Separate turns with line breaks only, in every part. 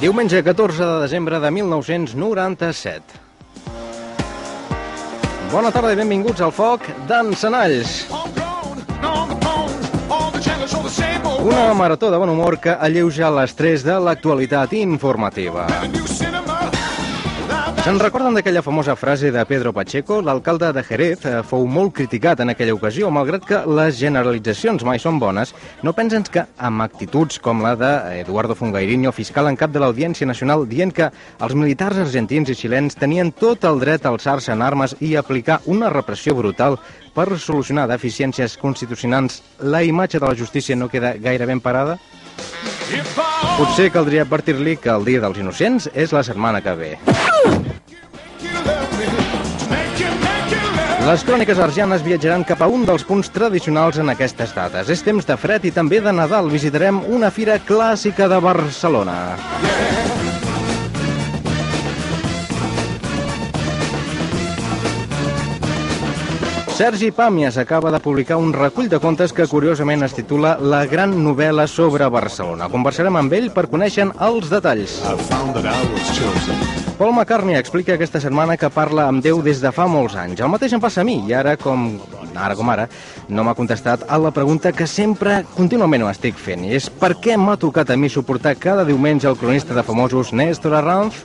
Diumenge 14 de desembre de 1997. Bona tarda i benvinguts al Foc d'Encenalls.
oh,
Una marató de bon humor que alleuja l'estrès de l'actualitat informativa. Se'n recorden d'aquella famosa frase de Pedro Pacheco? L'alcalde de Jerez eh, fou molt criticat en aquella ocasió, malgrat que les generalitzacions mai són bones. No pensen que amb actituds com la d'Eduardo Fungairiño, fiscal en cap de l'Audiència Nacional, dient que els militars argentins i xilens tenien tot el dret a alçar-se en armes i aplicar una repressió brutal per solucionar deficiències constitucionals, la imatge de la justícia no queda gaire ben parada? Potser caldria advertir-li que el Dia dels Innocents és la setmana que ve. Les cròniques argianes viatjaran cap a un dels punts tradicionals en aquestes dates. És temps de fred i també de Nadal. Visitarem una fira clàssica de Barcelona. Sergi Pàmies acaba de publicar un recull de contes que curiosament es titula La gran novel·la sobre Barcelona. Conversarem amb ell per conèixer els detalls. Paul McCartney explica aquesta setmana que parla amb Déu des de fa molts anys. El mateix em passa a mi, i ara com ara com ara, no m'ha contestat a la pregunta que sempre contínuament ho estic fent, i és per què m'ha tocat a mi suportar cada diumenge el cronista de famosos Néstor Arranz?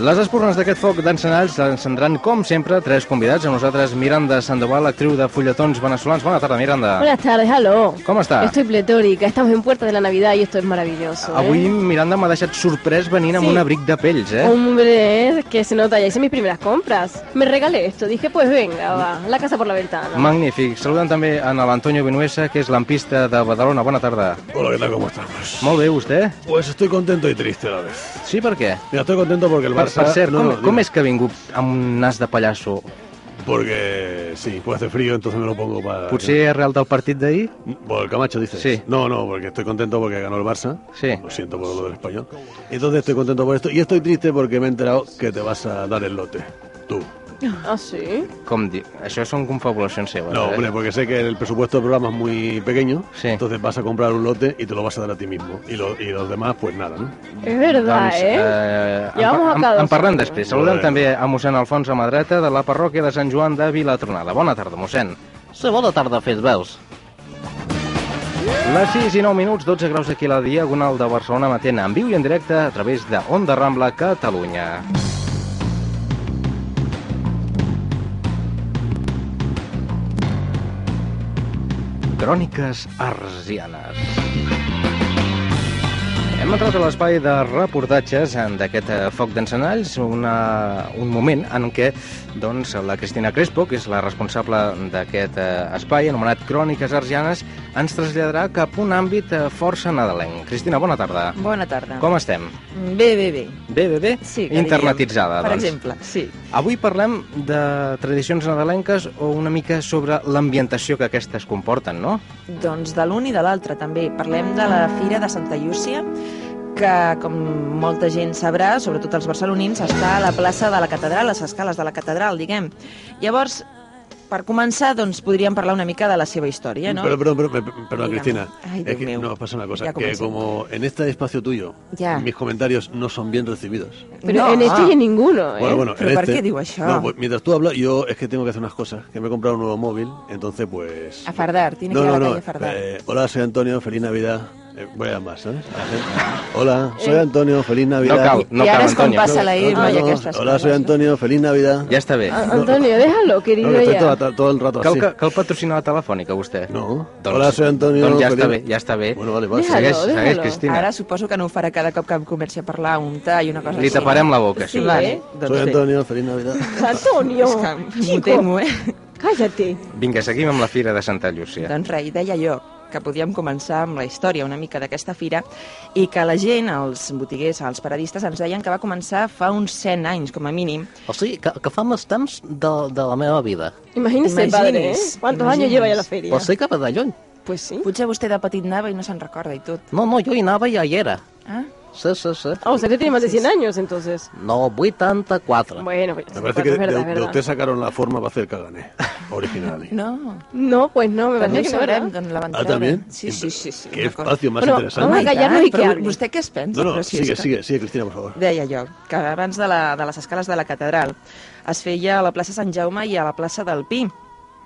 Les espurnes d'aquest foc d'encenalls l'encendran, com sempre, tres convidats. A nosaltres, Miranda Sandoval, actriu de fulletons venezolans. Bona tarda, Miranda.
Buenas tardes, hello.
Com està?
Estoy pletórica, estamos en puertas de la Navidad y esto es maravilloso.
Avui
¿eh?
Miranda m'ha deixat sorprès venint amb
Sí.
un abric de pells, eh?
Hombre, es que se nota, ya hice mis primeras compras. Me regalé esto, dije, pues venga, va, la casa por la ventana.
Magnífic. Saludem també en l'Antonio Vinuesa, que és lampista de Badalona. Bona tarda.
Hola, ¿qué tal? ¿Cómo estamos?
Molt bé, vostè?
Pues estoy contento y triste a la vez.
Sí, per què?
Mira, estoy contento porque el
Per,
Barça...
per cert,
No,
com,
no, dime.
com és que ha vingut amb un nas de pallasso?
Porque sí, pues hace frío, entonces me lo pongo para...
Potser arrel del partit d'ahir?
Por el Camacho, dices.
Pues Sí.
No, no, porque estoy contento porque ganó el Barça.
Sí.
Lo siento por lo del español. Entonces estoy contento por esto. Y estoy triste porque me he enterado que te vas a dar el lote. Tú.
Ah, sí.
Com diu? Això són confabulacions seves,
No,
eh?
hombre, porque sé que el presupuesto del programa es muy pequeño.
Sí.
Entonces vas a comprar un lote y te lo vas a dar a ti mismo. Y, lo- y los demás, pues nada, ¿no?
Es verdad,
Doncs,
¿eh?
en,
Ja vamos
en,
acabant.
en parlem després. Saludem
Bueno.
també a mossèn Alfons Amadreta, de la parròquia de Sant Joan de Vilatronada. Bona tarda, mossèn.
Sí, bona tarda, fes veus.
Les 6 i 9 minuts, 12 graus aquí a la Diagonal de Barcelona, matent en viu i en directe a través de Onda Rambla, Catalunya. Cròniques arsianes. Hem entrat a l'espai de reportatges en d'aquest eh, foc d'encenalls, una, un moment en què doncs, la Cristina Crespo, que és la responsable d'aquest eh, espai, anomenat Cròniques Argianes, ens traslladarà cap a un àmbit eh, força nadalenc. Cristina, bona tarda.
Bona tarda. Mm,
Com estem?
Bé, bé, bé.
Bé, bé, bé?
Sí, que
Internalitzada,
diríem. Per
doncs.
exemple, sí.
Avui parlem de tradicions nadalenques o una mica sobre l'ambientació que aquestes comporten, no?
Doncs de l'un i de l'altre també. Parlem de la Fira de Santa Llúcia, que, com molta gent sabrà, sobretot els barcelonins, està a la plaça de la catedral, a les escales de la catedral, diguem. Llavors, per començar, doncs, podríem parlar una mica de la seva història, no?
Pero, perdón, perdón, per- perdón,
Dígame.
Cristina.
Ay,
es
Dios
que
mío.
nos pasa una cosa,
Ya
que
comencé.
como en este espacio tuyo
Ya.
mis comentarios no son bien recibidos.
Pero
No.
en este y en ninguno, ¿eh?
ah. Bueno, bueno,
Pero
en
¿para
este-
qué digo eso?
No, pues mientras tú hablas, yo es que tengo que hacer unas cosas, que me he comprado un nuevo móvil, entonces pues...
A fardar, Ah, tiene
no,
que ir
no,
a la
no.
calle a fardar.
eh, hola, soy Antonio, feliz Navidad. Eh, voy a más, ¿sabes? A la gente. Hola,
Eh.
soy Antonio, feliz Navidad.
No cal, no
I
cal,
ara és quan
Antonio.
passa la
No,
Irma
no,
i
no,
aquestes
Hola, soy
coses, no?
Antonio, feliz Navidad.
Ja està bé.
A- Antonio, déjalo,
No,
querido,
que estoy
ya.
todo, todo el rato
Cal,
así.
ca- cal patrocinar la telefònica, vostè.
No. Hola, soy Antonio,
Doncs ja
feliz-
està bé, ja està bé.
Bueno, vale, vale.
Déjalo,
segueix, segueix,
déjalo.
Cristina.
Ara suposo que no ho farà cada cop que em comenci a parlar un tall i una cosa
Li
així.
taparem la boca,
Sí,
això.
Vale,
¿eh?
doncs
Soy
bé.
Antonio, feliz Navidad.
Antonio,
És que m'ho
chico,
temo, eh?
cállate.
Vinga, seguim amb la Fira de Santa Llúcia.
Doncs res, i deia jo que podíem començar amb la història una mica d'aquesta fira i que la gent, els botiguers, els paradistes, ens deien que va començar fa uns 100 anys, com a mínim.
O sigui, que, que fa més temps de, de la meva vida.
Imagínese,
Imagines,
padre, ¿eh? ¿Cuántos
imagines.
años lleva ya la
Sí,
feria?
o sigui que ve de lluny.
Pues sí.
Potser vostè de petit anava i no se'n recorda i tot.
No, no, jo hi anava i ja hi era.
Ah?
Sí, sí, sí.
Ah, o sea que tiene más de 100 años entonces.
No, 84.
Bueno, pues,
Me parece
es
que
verdad,
de,
es
de
verdad.
usted sacaron la forma para hacer Cagané, original.
No,
No, pues no, me
també
parece
ho
que no, ¿verdad?
sabrem, doncs la van
Ah,
treure.
també?
Sí, sí, sí. sí
Qué
una cosa.
espacio más
Bueno,
interesante.
vamos a callar-nos i
Però
que habli.
Vostè què es pensa?
No, no,
Però si
sigue,
és que-
sigue, sigue, Cristina, por favor.
Deia jo, que abans de, la, de les escales de la catedral es feia a la plaça Sant Jaume i a la plaça del Pi.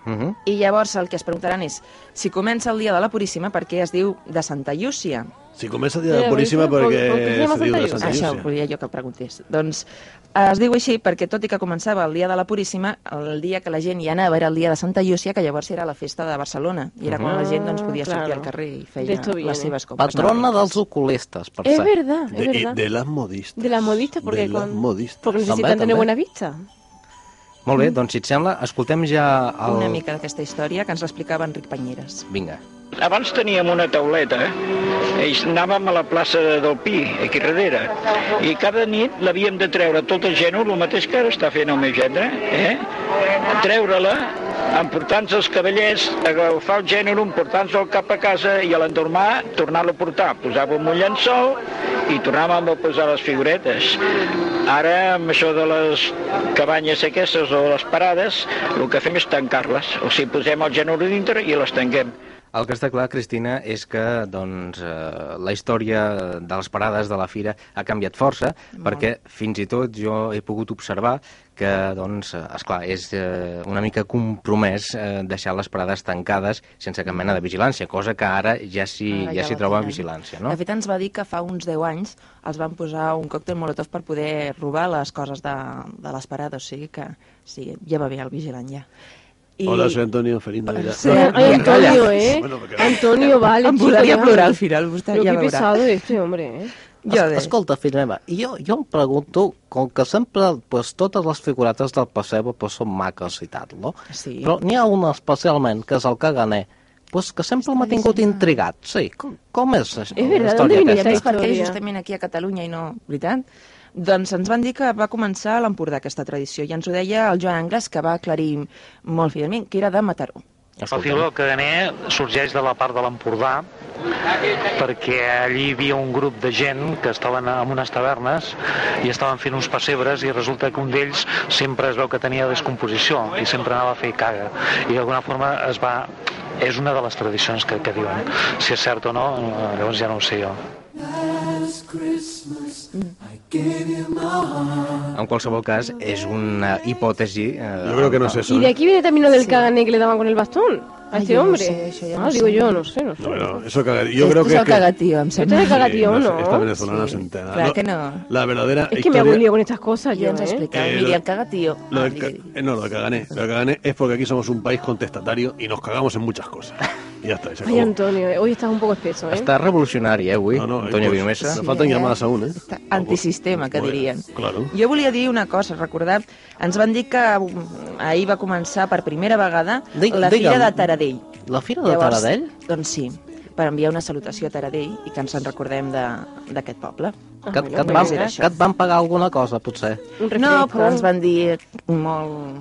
Mhm.
I llavors el que es preguntaran és si comença el dia de la Puríssima perquè es diu de Santa Llúcia.
Si comienza
Sí,
de Purísima,
Purísima,
porque
Pol- Purísima
se diu de
Santa
Santa
Això
Llúcia.
volia jo que preguntés. Doncs es diu així perquè, tot i que començava el dia de la Puríssima, el dia que la gent hi anava era el dia de Santa Llúcia, que llavors era la festa de Barcelona. I era quan la gent doncs, podia
Ah,
sortir
claro.
al carrer i feia
D'esto viene.
les seves compres.
Patrona dels oculistas, per
Es
cert.
verdad, es
De, y
verdad.
de las modistas.
De las modistas, porque,
De las
con-
modistas.
porque necesitan
També, també.
tener buena vista.
Molt bé, doncs si et sembla, escoltem ja el...
Mm. Una mica d'aquesta història que ens l'explicava Enric Panyeres.
Vinga.
Abans teníem una tauleta, eh? ells anàvem a la plaça del Pi, aquí darrere, i cada nit l'havíem de treure tota gent, el mateix que ara està fent el meu gendre, eh? treure-la, emportar-nos els cavallers, agafar el gènere, emportar-nos el cap a casa i a l'endormar tornar-lo a portar. Posàvem un llençol i tornàvem a posar les figuretes. Ara, amb això de les cabanyes aquestes o les parades, el que fem és tancar-les. O sigui, posem el gènere dintre i les tanquem.
El que està clar, Cristina, és que doncs, eh, la història de les parades de la fira ha canviat força, perquè fins i tot jo he pogut observar que, doncs, eh, esclar, és eh, una mica compromès eh, deixar les parades tancades sense cap mena de vigilància, cosa que ara ja s'hi
Ara
ja
ja
s'hi
la
troba
tenen.
vigilància,
No?
no?
De fet, ens va dir que fa uns 10 anys els van posar un còctel molotov per poder robar les coses de, de les parades, o sigui que sí, ja va bé el vigilant ja.
Hola, soy Antonio, feliz Navidad.
Sí, ay, Antonio, ¿eh?
Bueno, porque-
Antonio, vale.
Em
chico,
volaria
ya.
a plorar al final, vostè
Pero
ja
qué
veurà.
pesado este hombre, ¿eh?
Jo de...
Escolta, fill meva, jo, jo em pregunto, com que sempre pues, totes les figuretes del Placebo pues, són maques i tal, no?
Sí.
Però n'hi ha una especialment, que és el Caganer, pues, que sempre m'ha tingut intrigat. Sí, com, com és això?
És verdad,
la
d'on
història
venia
aquesta?
Saps per què
història.
justament aquí a Catalunya i no... Veritat? Doncs ens van dir que va començar a l'Empordà aquesta tradició i ens ho deia el Joan Angles que va aclarir molt fidelment que era de Mataró.
El filó del Caganer sorgeix de la part de l'Empordà perquè allí hi havia un grup de gent que estaven en unes tavernes i estaven fent uns pessebres i resulta que un d'ells sempre es veu que tenia descomposició i sempre anava a fer caga i d'alguna forma es va és una de les tradicions que, que diuen. Si és cert o no, eh, llavors ja no ho sé jo.
En qualsevol cas, és una hipòtesi... Eh,
Yo creo que no es eso.
Y de
¿eh?
aquí viene también lo del cagané que le daban con el bastón a
Ay,
este
yo no
hombre.
sé, eso ya
ah,
no
digo
sé.
yo, no sé, no sé.
No, no, eso caga- Yo creo que.
Pues, Esto és el
que-
cagatío, em
Esto
sembla.
es cagatío,
no sé,
¿no?
Esta venezolana
Sí,
se entera.
clar
Lo-
que no.
La verdadera
Es que me
historia.
aburrido con estas cosas
Ja
yo,
ens ha
¿eh?
explicat.
Eh,
Miri,
lo-
el cagatío.
Lo
Ah,
del ca-
digui, digui.
eh, no, lo del cagané. Lo del cagané es porque aquí somos un país contestatario y nos cagamos en muchas cosas. Y ya está. y se
Ay,
acabó.
Antonio, eh, hoy estás un poco espeso, ¿eh?
Està revolucionari, eh, avui,
No, no,
Antonio
pues,
Vilmesa.
Me faltan
eh?
llamadas aún, ¿eh?
Está antisistema, que
Bueno,
dirían.
Claro.
Jo volia dir una cosa, recordar, ens van dir que mm, ahir va començar per primera vegada
Digue-
la Fira
digue'm.
de Taradell.
La Fira de Taradell?
Doncs sí, per enviar una salutació a Taradell i que ens en recordem de- d'aquest poble.
Que, que, et
vull
van,
dir això.
que et van pagar alguna cosa, potser.
Un refresco.
No, però ens van dir molt...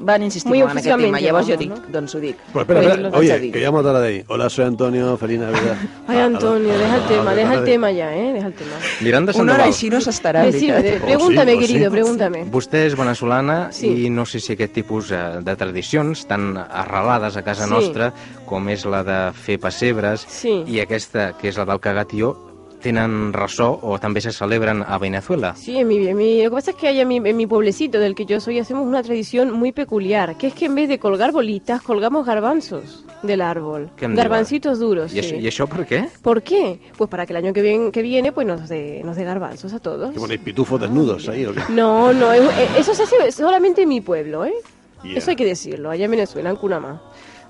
Van insistir
Muy
molt en aquest tema,
ofusivamente,
llavors jo
vamos,
dic, doncs ho dic.
Pues espera,
Vull
espera.
dir-los a
Oye,
Taradell.
que llamo a Taradei. Hola, soy Antonio. Feliz Navidad.
Ay,
Ah, a la-
Antonio,
a la-
deja
a
el
la
tema, deja el
Taradell.
tema ya, ¿eh? Deja el tema.
Miranda
Una hora
Sandoval.
així no s'estarà, en
Decime,
veritat.
de- pregúntame,
o sí.
querido, pregúntame.
Vostè és veneçolana
Sí.
i no sé si aquest tipus eh, de tradicions tan arrelades a casa
Sí.
nostra com és la de fer pessebres
Sí.
i aquesta, que és la del cagatió, tenen ressò o també se celebren a Venezuela.
Sí, en mi, en mi- lo que pasa es que hay en mi, en mi pueblecito del que yo soy hacemos una tradición muy peculiar, que es que en vez de colgar bolitas, colgamos garbanzos del árbol.
Què em diu,
Garbancitos duros.
I, això,
sí.
I això per què?
¿Por qué? Pues para que el año que viene, que viene pues nos dé nos dé garbanzos a todos.
Que ponéis pitufos desnudos ahí, ¿o qué?
No, no, es- eh, eso se hace solamente en mi pueblo, ¿eh?
Yeah.
Eso hay que decirlo, allá en Venezuela, en Cunamá.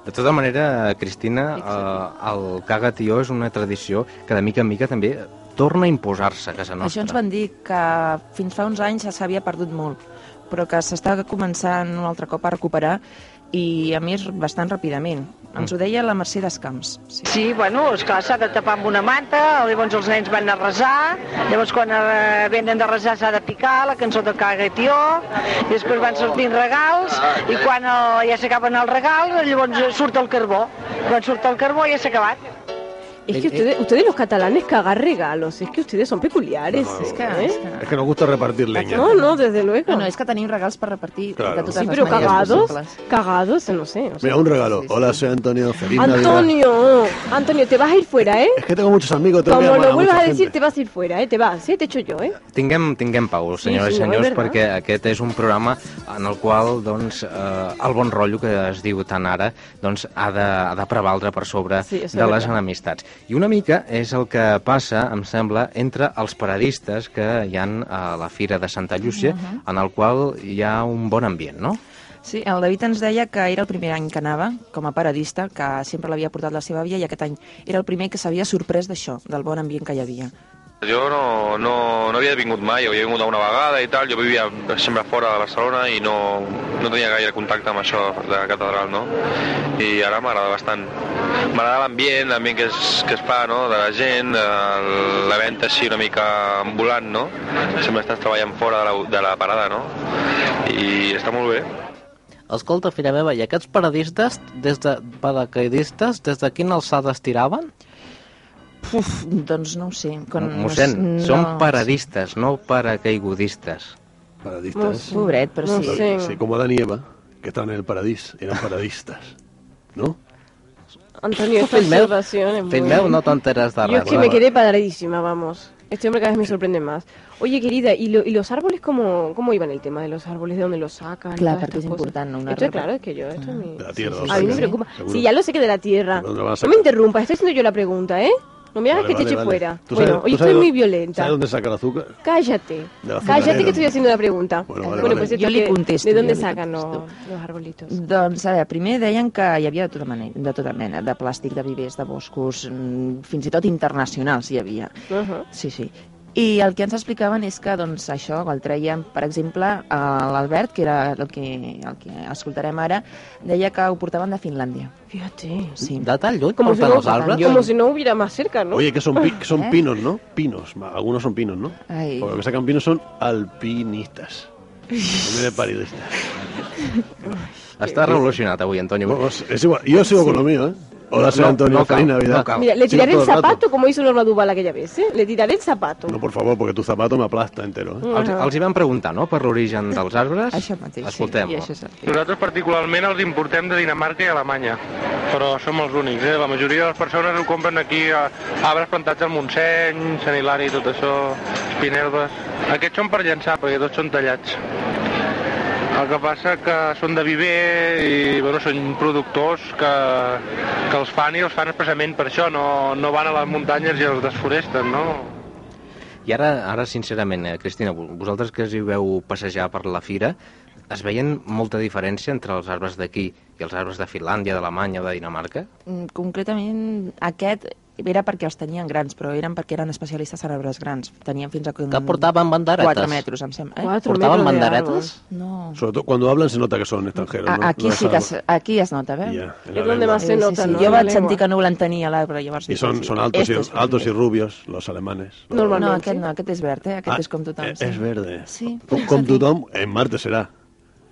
De tota manera, Cristina, eh, el cagatió és una tradició que de mica en mica també torna a imposar-se a casa nostra.
Això ens van dir que fins fa uns anys s'havia perdut molt, però que s'està començant un altre cop a recuperar i, a més, bastant ràpidament. Ens ho deia la Mercè Descamps. Sí.
Sí, bueno, és clar, s'ha de tapar amb una manta, llavors els nens van a resar, llavors quan eh, venen de resar s'ha de picar la cançó de Cagatió, i després van sortint regals, i quan eh, ja s'acaben els regals, llavors eh, surt el carbó. Quan surt el carbó ja s'ha acabat.
Es que ustedes, ustedes los catalanes cagar regalos, es que ustedes son peculiares.
És que,
¿eh?
és que...
Es que nos gusta repartir leña.
No, no, desde luego.
No, no, és que tenim regals per repartir
Claro.
de totes
sí,
les
pero
maneres
cagados,
possibles.
cagados, no sé. o sea.
Mira, un regalo.
Sí, sí.
Hola, soy Antonio. Feliz Navidad.
Antonio, Antonio, te vas a ir fuera, ¿eh?
Es que tengo muchos amigos. Tengo que
Como
llamar a
lo
mucha
vuelvas a
gente.
decir, te vas a ir fuera, ¿eh? Te vas, ¿eh? Te echo yo, ¿eh?
Tinguem, tinguem pau,
Sí,
senyores i
sí, no,
senyors,
és verdad.
perquè aquest és un programa en el qual doncs, eh, el bon rotllo que es diu tant ara doncs, ha, de, ha de prevaldre per sobre
Sí,
de
és
les
verdad.
enemistats. I una mica és el que passa, em sembla, entre els paradistes que hi han a la Fira de Santa Llúcia, en el qual hi ha un bon ambient, no?
Sí, el David ens deia que era el primer any que anava com a paradista, que sempre l'havia portat la seva àvia i aquest any era el primer que s'havia sorprès d'això, del bon ambient que hi havia.
Jo no, no, no havia vingut mai, havia vingut una vegada i tal, jo vivia sempre fora de Barcelona i no, no tenia gaire contacte amb això de catedral, no? I ara m'agrada bastant. M'agrada l'ambient, l'ambient que, es, que es fa, no?, de la gent, eh, la venda així una mica ambulant, no? Sempre estàs treballant fora de la, de la parada, no? I està molt bé.
Escolta, filla meva, i aquests paradistes, des de paracaidistes, des de quina alçada es tiraven?
Uf, doncs no ho sé. Quan
Mossèn,
no,
som paradistes, no paracaigudistes.
Paradistas.
Pobret, però
No
sí.
sé. Sí.
Sí, como Adán y Eva, que estaban en el paradís, eran paradistas. ¿No?
Antonio, esta
Fill meu,
observación es muy...
fill meu, no t'enteres de
Yo es
res.
que me quedé padradísima, vamos. Este hombre cada vez me sorprende más. Oye, querida, ¿y, lo- y los árboles cómo, cómo iban el tema de los árboles? ¿De dónde los sacan? y
Claro,
todas
porque
estas
es
cosas?
importante, ¿no? Un
Esto,
árbol. Ah.
claro, es que yo... Esto es mi-
De la tierra.
sí,
o
sí.
sea,
A mí me
sí.
preocupa.
seguro.
Sí, ya lo sé que de la tierra.
¿Dónde lo van a
No me
sacar?
interrumpas, estoy haciendo yo la pregunta, ¿eh? No me hagas
Vale,
que te
vale,
eche
vale.
fuera.
¿Tú
Bueno,
sabes-
hoy
tú
estoy
sabes-
muy violenta.
¿Sabes dónde saca el azúcar?
Cállate.
De la
Cállate
azucarera.
que estoy haciendo la pregunta.
Bueno, vale,
Bueno,
vale.
pues
Yo
esto
le
que-
contesto,
¿De
yo
dónde
le
sacan los,
contesto.
los arbolitos?
Doncs, a veure, primer deien que hi havia de tota, mena, de tota mena, de plàstic, de vivers, de boscos, mm, fins i tot internacionals hi havia.
Ujú.
Sí, sí. I el que ens explicaven és que doncs, això el treien, per exemple, a l'Albert, que era el que, el que escoltarem ara, deia que ho portaven de Finlàndia.
Fíjate.
Sí.
De tan lluny
Como si,
porten
no,
els arbres?
como si no hubiera más cerca, ¿no?
Oye, que son, pi- que son
¿Eh?
pinos, ¿no? Pinos. Ma- Algunos son pinos, ¿no?
Ai.
Porque los que sacan pinos son alpinistas. En vez de paridistas.
Està revolucionat avui, Antonio.
Vamos, es igual. Yo sigo con lo mío, ¿eh? Hola, soy
No,
Antonio.
no cal,
Feliz Navidad.
no cal.
Mira, le
Sí,
tiraré
todo
el
el rato.
zapato como hizo Norma Duval aquella vez, ¿eh? Le tiraré el zapato.
No, por favor, porque tu zapato me aplasta entero, ¿eh?
Els, els hi van preguntar, no?, per l'origen dels arbres.
Això mateix, sí. I
Escoltem-ho.
això és el que...
Nosaltres particularment els importem de Dinamarca i Alemanya, però som els únics, eh? La majoria de les persones ho compren aquí, a arbres plantats al Montseny, Sant Hilari, tot això, espinelves... Aquests són per llançar, perquè tots són tallats. El que passa que són de viver i bueno, són productors que, que els fan i els fan expressament per això, no, no van a les muntanyes i els desforesten, no?
I ara, ara sincerament, eh, Cristina, vo- vosaltres que us hi veu passejar per la fira, es veien molta diferència entre els arbres d'aquí i els arbres de Finlàndia, d'Alemanya o de Dinamarca?
Mm, Concretament, aquest era perquè els tenien grans, però eren perquè eren especialistes en arbres grans. Tenien fins a...
Que portaven banderetes.
4 metres, em sembla. Eh?
Cuatro
Portaven
metros de
banderetes?
árbol.
No.
Sobre todo cuando hablan se nota que son extranjeros,
A,
¿no?
aquí
No
sí que
es
es,
algo-
aquí es nota, eh? veus?
Ya, en
Es
la
donde
lengua.
más se nota, ¿no?
Jo
En la
vaig
lengua.
sentir que no l'entenia l'arbre, llavors...
Y
dic,
son,
sí,
son altos, y,
este és un
altos y
verde.
rubios, los alemanes. Los-
Normalment,
No,
sí.
aquest no, aquest és verd, eh? Aquest
Ah,
és com tothom.
Es, es verde.
Sí.
Com- Com tothom, en Marte será.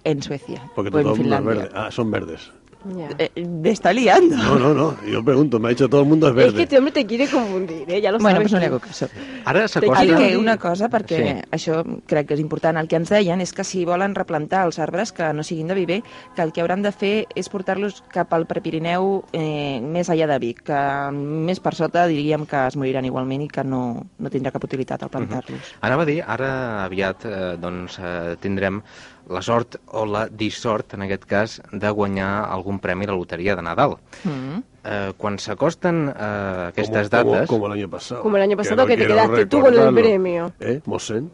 En Suècia.
Porque
o Pues en
tothom no es
Finlàndia.
verde. Ah, son verdes.
Ya.
Eh, me está liando.
No, no, no. Yo pregunto, me ha dicho todo el mundo es
Es
verde.
que este hombre te quiere confundir, ¿eh? Ya lo
Bueno,
sabes.
pues no li
tú.
hago caso.
Ara s'acosta...
El
Costa-
que una cosa, perquè sí.
Sí.
això crec que és important, el que ens deien és que si volen replantar els arbres que no siguin de viver, que el que hauran de fer és portar-los cap al Prepirineu eh, més allà de Vic, que més per sota diríem que es moriran igualment i que no, no tindrà cap utilitat al plantar-los.
Anava a dir, ara aviat eh, doncs, eh, tindrem la sort o la dissort, en aquest cas, de guanyar algun premi a la loteria de Nadal.
Mm -hmm.
Eh, quan s'acosten eh,
Como-
aquestes
como-
dates...
Como, el año pasado.
Como el año pasado que te
quiero
quedaste tú con el
recordarlo.
premio.
¿Eh? Mosén.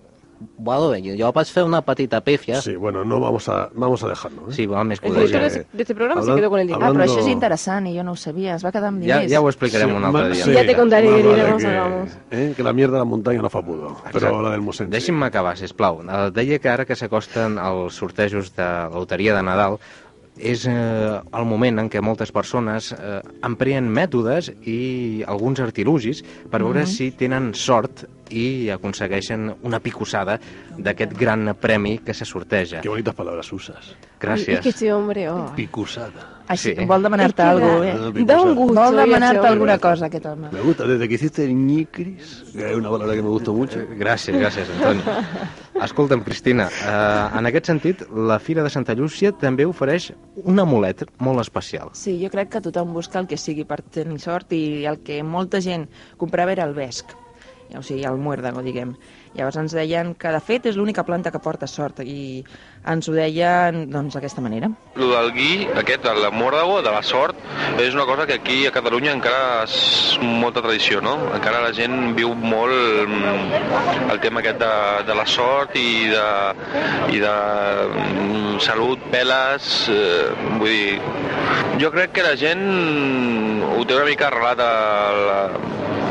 Bueno, bé, jo vaig fer una petita pífia.
Sí, bueno, no vamos a, vamos a dejarlo. ¿eh?
Sí, val més que
El
ho
director
deixem.
de este, de este programa se
Hablan-
quedó con el dinero.
Ah, però
eh, Hablando-
això és interessant i jo no ho sabia, es va quedar amb
Ja,
diners.
ja ho explicarem un altre
ma-
dia.
sí. Ya te contaré,
más
querida,
vale
cómo acabamos.
¿eh? que la mierda de la montaña no fa pudor, pero la del Mosén. sí.
Deixi'm acabar, sisplau. Eh, Deia que ara que s'acosten els sortejos de la loteria de Nadal, és eh, el moment en què moltes persones eh, empreen mètodes i alguns artilugis per veure
Mhm.
si tenen sort i aconsegueixen una picossada d'aquest gran premi que se sorteja. Que
bonites paraules uses.
Es que
Gràcies.
este hombre, oh.
Picusada.
Així,
Sí.
vol demanar-te
Es que
alguna
da-
cosa,
No,
eh?
no, picusada.
un gusto,
Vol
ya
demanar-te
sé,
alguna
hombre.
cosa, aquest home.
Me gusta, desde que hiciste ñicris, que es una palabra que me gustó mucho.
Eh, Gràcies, gràcies, Antoni. Escolta'm, Cristina, eh, en aquest sentit, la Fira de Santa Llúcia també ofereix un amulet molt especial.
Sí, jo crec que tothom busca el que sigui per tenir sort i el que molta gent comprava era el vesc, o sigui, el muérdago, diguem. Llavors ens deien que, de fet, és l'única planta que porta sort i ens ho deien, doncs, d'aquesta manera.
El del gui, aquest, el mòrdago, de la sort, és una cosa que aquí a Catalunya encara és molta tradició, no? Encara la gent viu molt mm, el tema aquest de, de la sort i de, i de mm, salut, peles... Eh, vull dir, jo crec que la gent ho té una mica arrelat a la,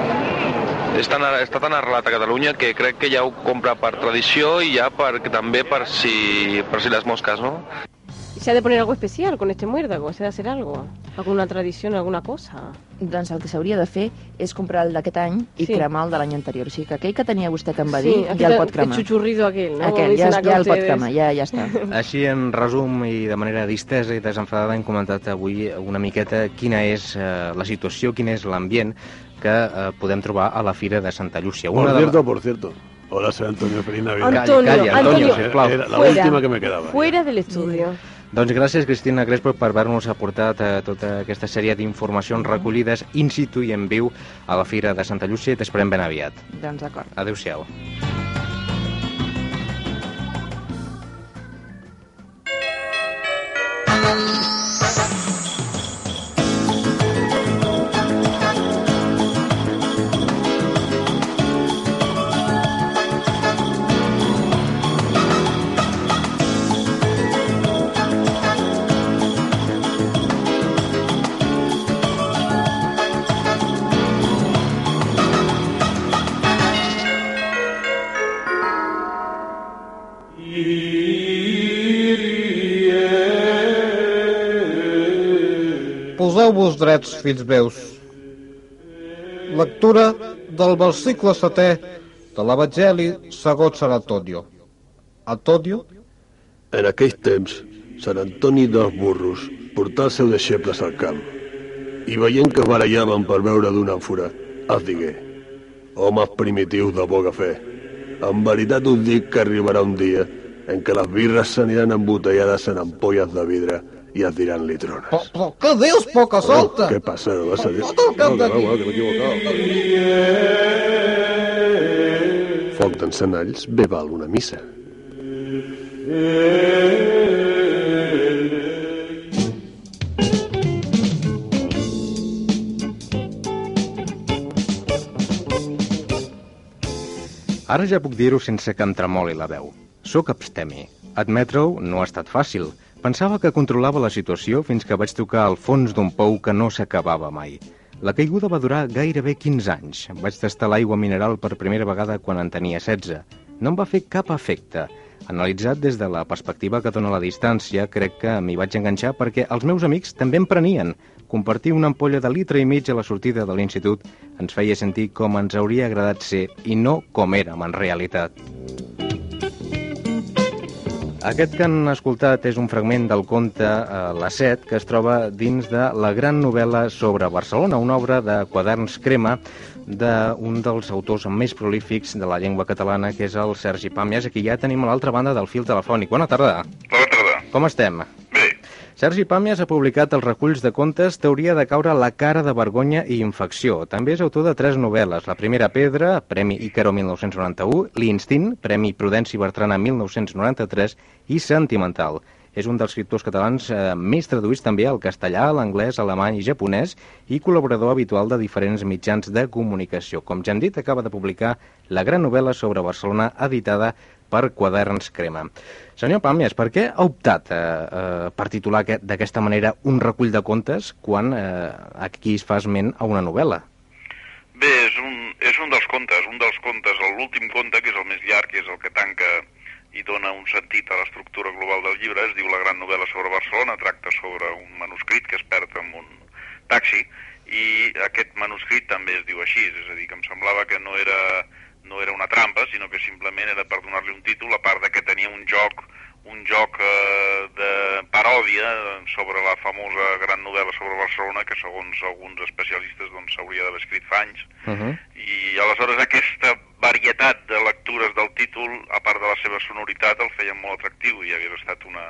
és tan, està tan arrelat a Catalunya que crec que ja ho compra per tradició i ja per, també per si, per si les mosques, no?
Se ha de poner algo especial con este muérdago, se ha de hacer algo, alguna tradición, alguna cosa.
Doncs el que s'hauria de fer és comprar el d'aquest any i
Sí.
cremar el de l'any anterior. O sigui que aquell que tenia vostè que em va
Sí,
dir
aquest-
ja el pot cremar.
el xuchurrido aquell, no? Como
Aquell, ja,
dicen acá
ja el pot
ustedes.
cremar, ja, ja està.
Així, en resum i de manera distesa i desenfadada, hem comentat avui una miqueta quina és eh, la situació, quin és l'ambient que eh, podem trobar a la Fira de Santa Llúcia.
Por
de la-
cierto, por cierto. Hola, soy Antonio. Feliz Navidad.
Antonio, Calla, calla, Antonio, Antonio, sisplau.
Era la
fuera.
última que me quedaba.
Fuera del estudio.
Doncs gràcies, Cristina Crespo, per haver-nos aportat eh, tota aquesta sèrie d'informacions recollides in situ i en viu a la Fira de Santa Llúcia i t'esperem ben aviat.
Doncs d'acord.
Adéu-siau.
Poseu-vos drets, fills meus. Lectura del versicle setè de l'Evangeli segons Sant Antonio. Antonio,
En aquells temps, Sant Antoni dels Burros portà els seus deixebles al camp i veient que barallaven per veure d'una àmfora, els digué Homes primitius de poca fe, en veritat us dic que arribarà un dia en què les birres s'aniran embotellades en ampolles de vidre i es diran litrones.
però, però què dius, poca solta?
Què passa? No vas a dir...
Tot el
No,
camp
no,
d'aquí.
no, que m'he equivocat. Foc d'encenalls bé val una missa.
Ara ja puc dir-ho sense que em tremoli la veu. Soc abstemi. Admetre-ho no ha estat fàcil. Pensava que controlava la situació fins que vaig tocar al fons d'un pou que no s'acabava mai. La caiguda va durar gairebé 15 anys. Vaig tastar l'aigua mineral per primera vegada quan en tenia 16. No em va fer cap efecte. Analitzat des de la perspectiva que dona la distància, crec que m'hi vaig enganxar perquè els meus amics també em prenien. Compartir una ampolla de litre i mig a la sortida de l'institut ens feia sentir com ens hauria agradat ser i no com érem en realitat. Aquest que han escoltat és un fragment del conte eh, La Set, que es troba dins de la gran novel·la sobre Barcelona, una obra de quaderns crema d'un dels autors més prolífics de la llengua catalana, que és el Sergi Pàmies. Aquí ja tenim a l'altra banda del fil telefònic. Bona tarda. Bona tarda. Com estem? Bé. Sergi Pàmies ha publicat els reculls de contes Teoria de caure la cara de vergonya i infecció. També és autor de tres novel·les. La primera pedra, Premi Ícaro 1991, L'Instint, Premi Prudenci Bertrana 1993 i Sentimental. És un dels escriptors catalans eh, més traduïts també al castellà, a l'anglès, alemany i japonès i col·laborador habitual de diferents mitjans de comunicació. Com ja hem dit, acaba de publicar la gran novel·la sobre Barcelona editada per Quaderns Crema. Senyor Pàmies, per què ha optat eh, eh, per titular aquest- d'aquesta manera un recull de contes quan eh, aquí es fa esment a una novel·la?
Bé, és un, és un dels contes, un dels contes, l'últim conte, que és el més llarg, que és el que tanca i dona un sentit a l'estructura global del llibre. Es diu La gran novel·la sobre Barcelona, tracta sobre un manuscrit que es perd en un taxi i aquest manuscrit també es diu així, és a dir, que em semblava que no era, no era una trampa, sinó que simplement era per donar-li un títol, a part de que tenia un joc un joc eh, de paròdia sobre la famosa gran novel·la sobre Barcelona que segons alguns especialistes doncs s'hauria d'haver escrit fa anys i aleshores aquesta varietat de lectures del títol, a part de la seva sonoritat, el feien molt atractiu i havia estat una,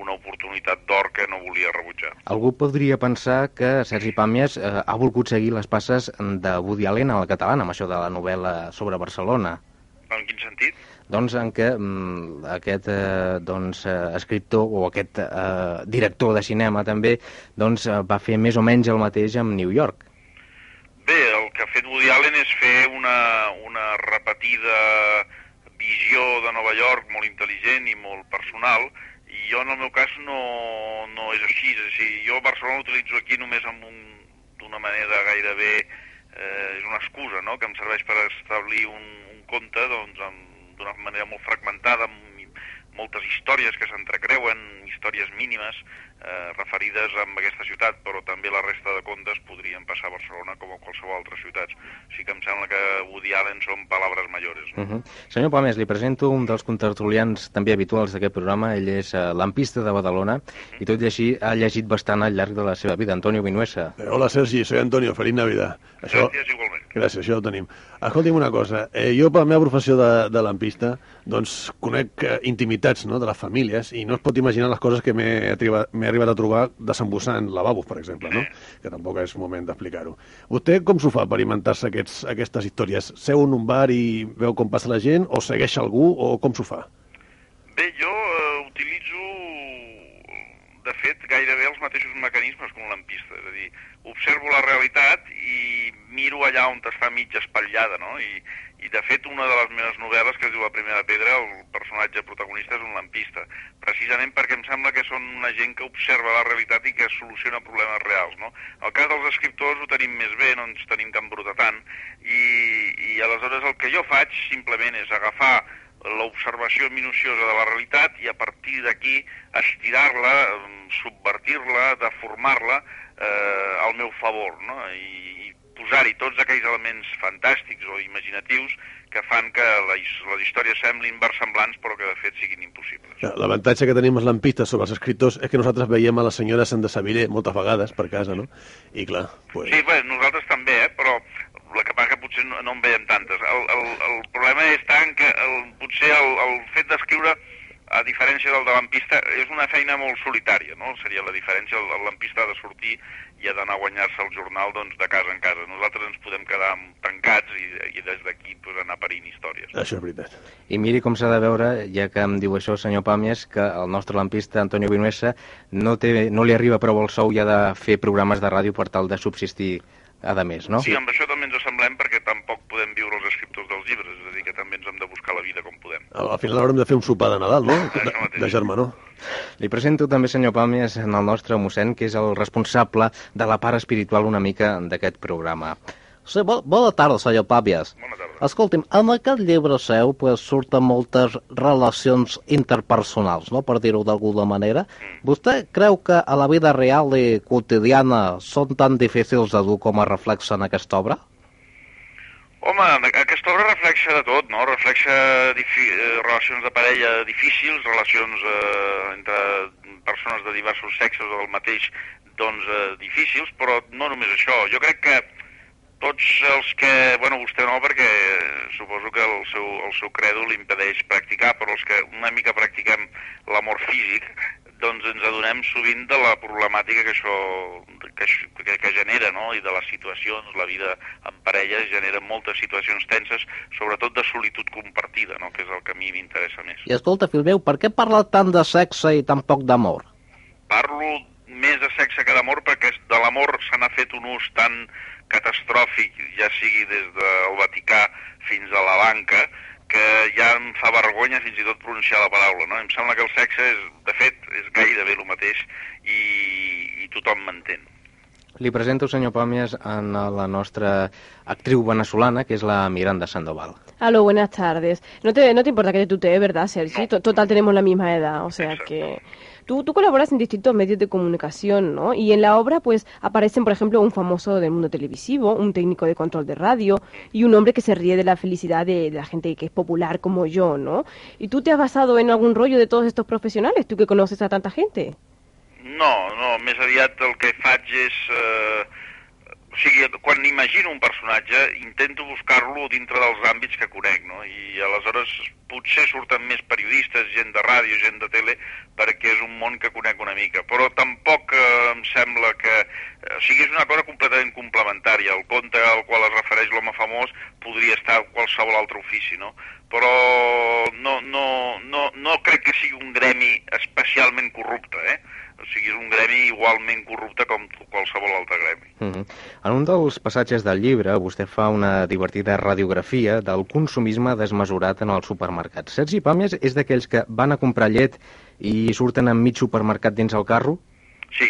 una oportunitat d'or que no volia rebutjar.
Algú podria pensar que Sergi Pàmies eh, ha volgut seguir les passes de Woody Allen a la catalana, amb això de la novel·la sobre Barcelona.
En quin sentit?
Doncs en què mm, aquest eh, doncs, eh, escriptor o aquest eh, director de cinema també doncs, eh, va fer més o menys el mateix amb New York.
Bé, el que ha fet Woody Allen és fer una, una repetida visió de Nova York molt intel·ligent i molt personal, i jo en el meu cas no, no és així. És a dir, jo Barcelona l'utilitzo aquí només amb un d'una manera gairebé... Eh, és una excusa, no?, que em serveix per establir un, un conte doncs, amb- d'una manera molt fragmentada, amb mi- moltes històries que s'entrecreuen, històries mínimes eh, referides amb aquesta ciutat, però també la resta de contes podrien passar a Barcelona com a qualsevol altra ciutat. O sigui que em sembla que Woody Allen són paraules majores.
Uh -huh. Senyor Pàmies, li presento un dels contertulians també habituals d'aquest programa. Ell és eh, lampista de Badalona i tot i així ha llegit bastant al llarg de la seva vida. Antonio Vinuesa.
Eh, Hola, Sergi, soy Antonio. Feliz Navidad. Això...
Gràcies, igualment.
Gràcies, això ho tenim. Escolti'm una cosa, eh, jo per la meva professió de, de lampista, doncs conec eh, intimitats no, de les famílies i no es pot imaginar les coses que m'he arribat, arribat a trobar desembossant lavabos, per exemple, no?
Mm.
que tampoc és moment d'explicar-ho. Vostè com s'ho fa per inventar-se aquests- aquestes històries? Seu en un bar i veu com passa la gent o segueix algú o com s'ho fa?
Bé, jo eh, utilitzo, de fet, gairebé els mateixos mecanismes que un lampista. És a dir, observo la realitat i miro allà on està mig espatllada, no? I, i de fet, una de les meves novel·les, que es diu La primera pedra, el personatge protagonista és un lampista, precisament perquè em sembla que són una gent que observa la realitat i que soluciona problemes reals, no? El cas dels escriptors ho tenim més bé, no ens tenim tan bruta tant, i, i aleshores el que jo faig simplement és agafar l'observació minuciosa de la realitat i a partir d'aquí estirar-la, em, subvertir-la, deformar-la eh, al meu favor, no? I, i posar-hi tots aquells elements fantàstics o imaginatius que fan que la, his- les històries semblin versemblants però que de fet siguin impossibles.
L'avantatge que tenim els lampistes sobre els escriptors és que nosaltres veiem a la senyora Sant de Sevilla moltes vegades per casa, no? I clar, pues...
Sí, bé, nosaltres també, eh, però la que passa que potser no, no en veiem tantes. El, el, el problema és tant que el, potser el, el fet d'escriure, a diferència del de lampista, és una feina molt solitària, no? Seria la diferència, el, el lampista ha de sortir i ha d'anar a guanyar-se el jornal doncs, de casa en casa. Nosaltres ens podem quedar tancats i, i des d'aquí pues, anar parint històries.
Això és veritat.
I miri com s'ha de veure, ja que em diu això el senyor Pàmies, que el nostre lampista, Antonio Vinuesa, no, té, no li arriba prou el sou i ha de fer programes de ràdio per tal de subsistir a de més, no?
Sí, amb això també ens assemblem perquè tampoc podem viure els escriptors dels llibres, és a dir, que també ens hem de buscar la vida com podem.
Al final haurem de fer un sopar de Nadal, no? De, de germanor.
Li presento també, senyor Pàmies, en el nostre mossèn, que és el responsable de la part espiritual una mica d'aquest programa.
Sí, bo, bona tarda, senyor Pàvies. Escolti'm, en aquest llibre seu pues, surten moltes relacions interpersonals, no? per dir-ho d'alguna manera. Vostè creu que a la vida real i quotidiana són tan difícils de dur com a reflexa en aquesta obra?
Home, aquesta obra reflexa de tot, no? Reflexa difi- eh, relacions de parella difícils, relacions eh, entre persones de diversos sexes o del mateix, doncs, eh, difícils, però no només això. Jo crec que tots els que... Bueno, vostè no, perquè suposo que el seu, el seu credo li impedeix practicar, però els que una mica practiquem l'amor físic, doncs ens adonem sovint de la problemàtica que això que, això- que, que genera, no? I de les situacions, la vida en parella genera moltes situacions tenses, sobretot de solitud compartida, no? Que és el que a mi m'interessa més.
I escolta, fill meu, per què parla tant de sexe i tan poc d'amor?
Parlo més de sexe que d'amor perquè de l'amor se n'ha fet un ús tan catastròfic, ja sigui des del Vaticà fins a la banca, que ja em fa vergonya fins i tot pronunciar la paraula, no? Em sembla que el sexe, és, de fet, és gairebé el mateix i, i tothom m'entén.
Li presento, senyor Pàmies, a la nostra actriu veneçolana, que és la Miranda Sandoval.
Aló, buenas tardes. No te, no te importa que te tutee, ¿verdad, Sergi? To- Total, tenemos la misma edad, o sea que... Tú, tú colaboras en distintos medios de comunicación, ¿no? Y en la obra, pues, aparecen, por ejemplo, un famoso del mundo televisivo, un técnico de control de radio y un hombre que se ríe de la felicidad de, de la gente que es popular como yo, ¿no? ¿Y tú te has basado en algún rollo de todos estos profesionales, tú que conoces a tanta gente?
No, no, més aviat el que faig és... Eh, o sigui, quan imagino un personatge, intento buscar-lo dintre dels àmbits que conec, no? I aleshores potser surten més periodistes, gent de ràdio, gent de tele, perquè és un món que conec una mica. Però tampoc eh, em sembla que... eh, O sigui, és una cosa completament complementària. El conte al qual es refereix l'home famós podria estar a qualsevol altre ofici, no? Però no, no, no, no crec que sigui un gremi especialment corrupte, eh? O sigui, és un gremi igualment corrupte com qualsevol altre gremi.
Mhm. En un dels passatges del llibre, vostè fa una divertida radiografia del consumisme desmesurat en els supermercats. Sergi Pàmies és d'aquells que van a comprar llet i surten amb mig supermercat dins el carro?
Sí.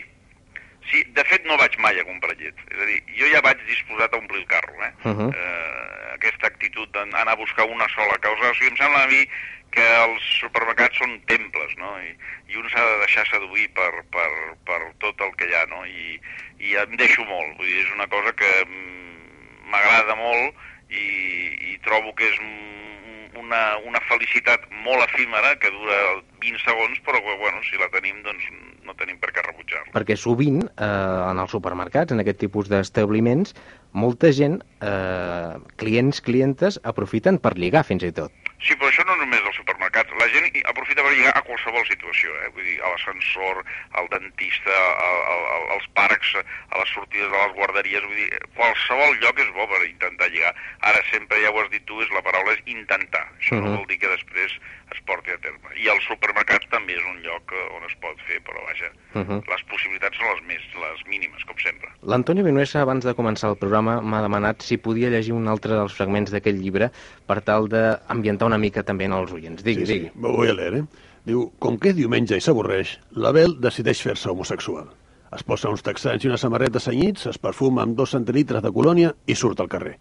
Sí, de fet no vaig mai a comprar llet. És a dir, jo ja vaig disposat a omplir el carro, eh? Uh
Mhm.
-huh. eh aquesta actitud d'anar a buscar una sola causa. O sigui, em sembla a mi que els supermercats són temples, no? I, i un s'ha de deixar seduir per, per, per tot el que hi ha, no? I, I em deixo molt, vull dir, és una cosa que mm, m'agrada molt i, i trobo que és mm, una, una felicitat molt efímera que dura 20 segons, però que, bueno, si la tenim, doncs no tenim per què rebutjar.
Perquè sovint, eh, en els supermercats, en aquest tipus d'establiments, molta gent, eh, clients, clientes, aprofiten per lligar fins i tot.
Sí, però això no només als supermercats. La gent hi- aprofita per lligar a qualsevol situació, eh? Vull dir, a l'ascensor, al dentista, a, a, a, als parcs, a les sortides de les guarderies, vull dir, qualsevol lloc és bo per intentar lligar. Ara sempre, ja ho has dit tu, és la paraula és intentar. Això no
Mhm.
vol dir que després es porti a terme. I els supermercats també és un lloc eh, on es pot fer, però vaja,
Mhm.
les possibilitats són les més, les mínimes, com sempre.
L'Antoni Vinuesa, abans de començar el programa, m'ha demanat si podia llegir un altre dels fragments d'aquest llibre per tal d'ambientar una mica també en els oients. Digui,
sí,
digui.
Sí. Ho Vull a leer, eh? Diu, com que és diumenge i s'avorreix, l'Abel decideix fer-se homosexual. Es posa uns texans i una samarreta cenyits, es perfuma amb dos centilitres de colònia i surt al carrer.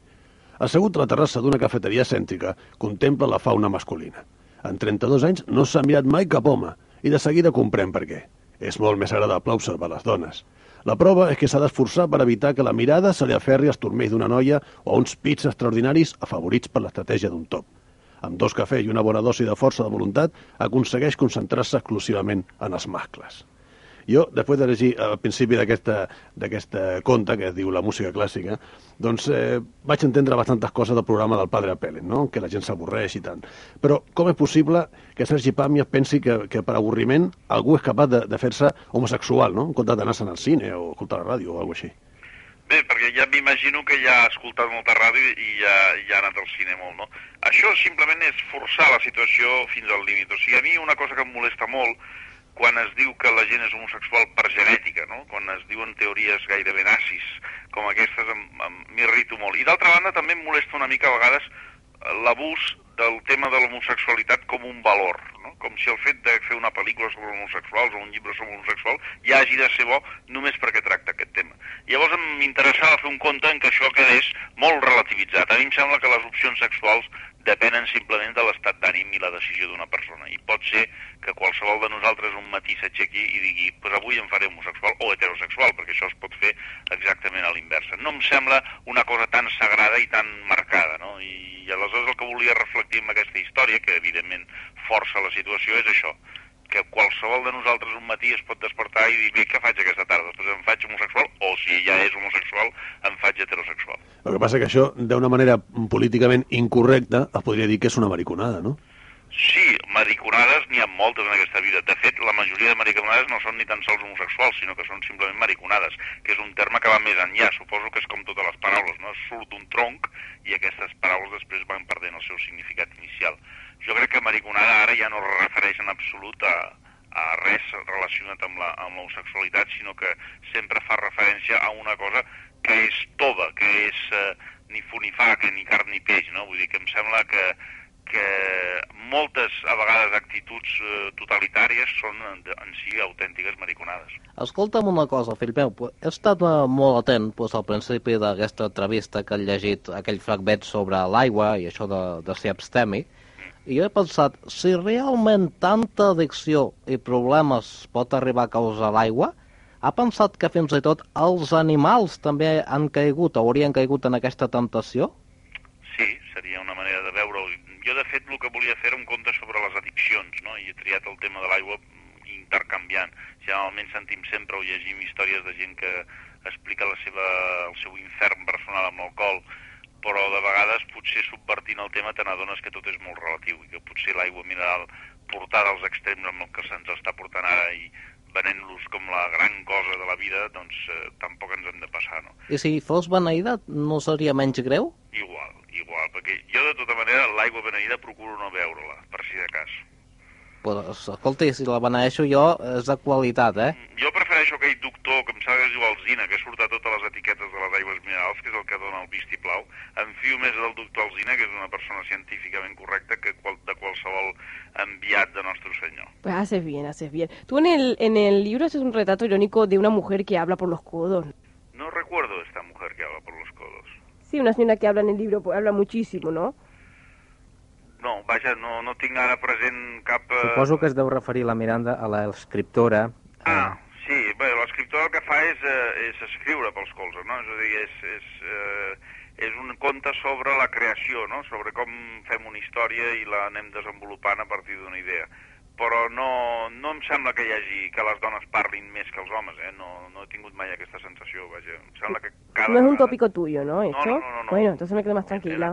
Assegut a la terrassa d'una cafeteria cèntrica, contempla la fauna masculina. En 32 anys no s'ha mirat mai cap home i de seguida comprèn per què. És molt més agradable observar les dones. La prova és que s'ha d'esforçar per evitar que la mirada se li aferri als turmells d'una noia o a uns pits extraordinaris afavorits per l'estratègia d'un top. Amb dos cafès i una bona dosi de força de voluntat, aconsegueix concentrar-se exclusivament en els mascles. Jo, després de llegir eh, al principi d'aquesta d'aquesta conta, que es diu La música clàssica, doncs eh, vaig entendre bastantes coses del programa del Padre Pelen, no? que la gent s'avorreix i tant. Però com és possible que Sergi Pàmies pensi que, que per avorriment algú és capaç de, de fer-se homosexual, no? en comptes d'anar-se'n al cine o escoltar la ràdio o alguna així?
Bé, perquè ja m'imagino que ja ha escoltat molta ràdio i ja, ja ha anat al cine molt, no? Això simplement és forçar la situació fins al límit. O sigui, a mi una cosa que em molesta molt quan es diu que la gent és homosexual per genètica, no? Quan es diuen teories gairebé nazis com aquestes, em- em- m'irrito molt. I d'altra banda també em molesta una mica a vegades eh, l'abús del tema de l'homosexualitat com un valor, no? com si el fet de fer una pel·lícula sobre homosexuals o un llibre sobre homosexual ja hagi de ser bo només perquè tracta aquest tema. Llavors em interessava fer un conte en què això quedés molt relativitzat. A mi em sembla que les opcions sexuals depenen simplement de l'estat d'ànim i la decisió d'una persona. I pot ser que qualsevol de nosaltres un matí s'aixequi i digui pues avui em faré homosexual o heterosexual, perquè això es pot fer exactament a l'inversa. No em sembla una cosa tan sagrada i tan marcada, no? I, i aleshores el que volia reflectir amb aquesta història, que evidentment força la situació, és això que qualsevol de nosaltres un matí es pot despertar i dir, bé, què faig aquesta tarda? Després em faig homosexual? O si ja és homosexual, em faig heterosexual.
El que passa que això, d'una manera políticament incorrecta, es podria dir que és una mariconada, no?
Sí, mariconades n'hi ha moltes en aquesta vida. De fet, la majoria de mariconades no són ni tan sols homosexuals, sinó que són simplement mariconades, que és un terme que va més enllà. Suposo que és com totes les paraules, no? Surt d'un tronc i aquestes paraules després van perdent el seu significat inicial. Jo crec que mariconada ara ja no es refereix en absolut a, a res relacionat amb la- amb l'homosexualitat, sinó que sempre fa referència a una cosa que és tova, que és eh, ni funifac, ni carn ni peix, no? Vull dir que em sembla que que moltes, a vegades, actituds eh, totalitàries són en, en si autèntiques mariconades.
Escolta'm una cosa, fill meu, pues, he estat eh, molt atent pues, al principi d'aquesta entrevista que he llegit aquell fragment sobre l'aigua i això de, de ser abstemi, i he pensat, si realment tanta addicció i problemes pot arribar a causar l'aigua, ha pensat que fins i tot els animals també han caigut, haurien caigut en aquesta temptació?
Sí, seria una manera de veure-ho. Jo, de fet, el que volia fer era un conte sobre les addiccions, no? I he triat el tema de l'aigua mm, intercanviant. Generalment sentim sempre o llegim històries de gent que explica la seva, el seu infern personal amb l'alcohol, però de vegades potser subvertint el tema te n'adones que tot és molt relatiu i que potser l'aigua mineral portada als extrems amb el que se'ns està portant ara i venent-los com la gran cosa de la vida, doncs eh, tampoc ens hem de passar, no?
I si fos beneïda, no seria menys greu?
Igual, igual, perquè jo de tota manera l'aigua beneïda procuro no veure-la, per si de cas.
Pues, escolti, si la beneeixo jo, és de qualitat, eh?
Jo prefereixo aquell doctor, que em sap que es diu Alzina, que surt a totes les etiquetes de les aigües minerals, que és el que dona el vistiplau. Em fio més del doctor Alzina, que és una persona científicament correcta, que qual, de qualsevol enviat de Nostre Senyor.
Pues haces bien, haces bien. Tú en el, en el libro haces un retrato irónico de una mujer que habla por los codos.
No recuerdo esta mujer que habla por los codos.
Sí, una señora que habla en el libro, pues, habla muchísimo, ¿no?
No, vaja, no, no tinc ara present cap... eh,
Suposo que es deu referir la Miranda a l'escriptora.
Ah, sí, bé, l'escriptor el que fa és, eh, és escriure pels colzes, no? És a dir, és, és, eh, és un conte sobre la creació, no? Sobre com fem una història i la anem desenvolupant a partir d'una idea. Però no, no em sembla que hi hagi que les dones parlin més que els homes, eh? No, no he tingut mai aquesta sensació, vaja. Em sembla que cada
no es un
vegada-
tópico tuyo, ¿no? ¿Esto?
no, no, no, no.
Bueno, entonces me quedo más tranquila.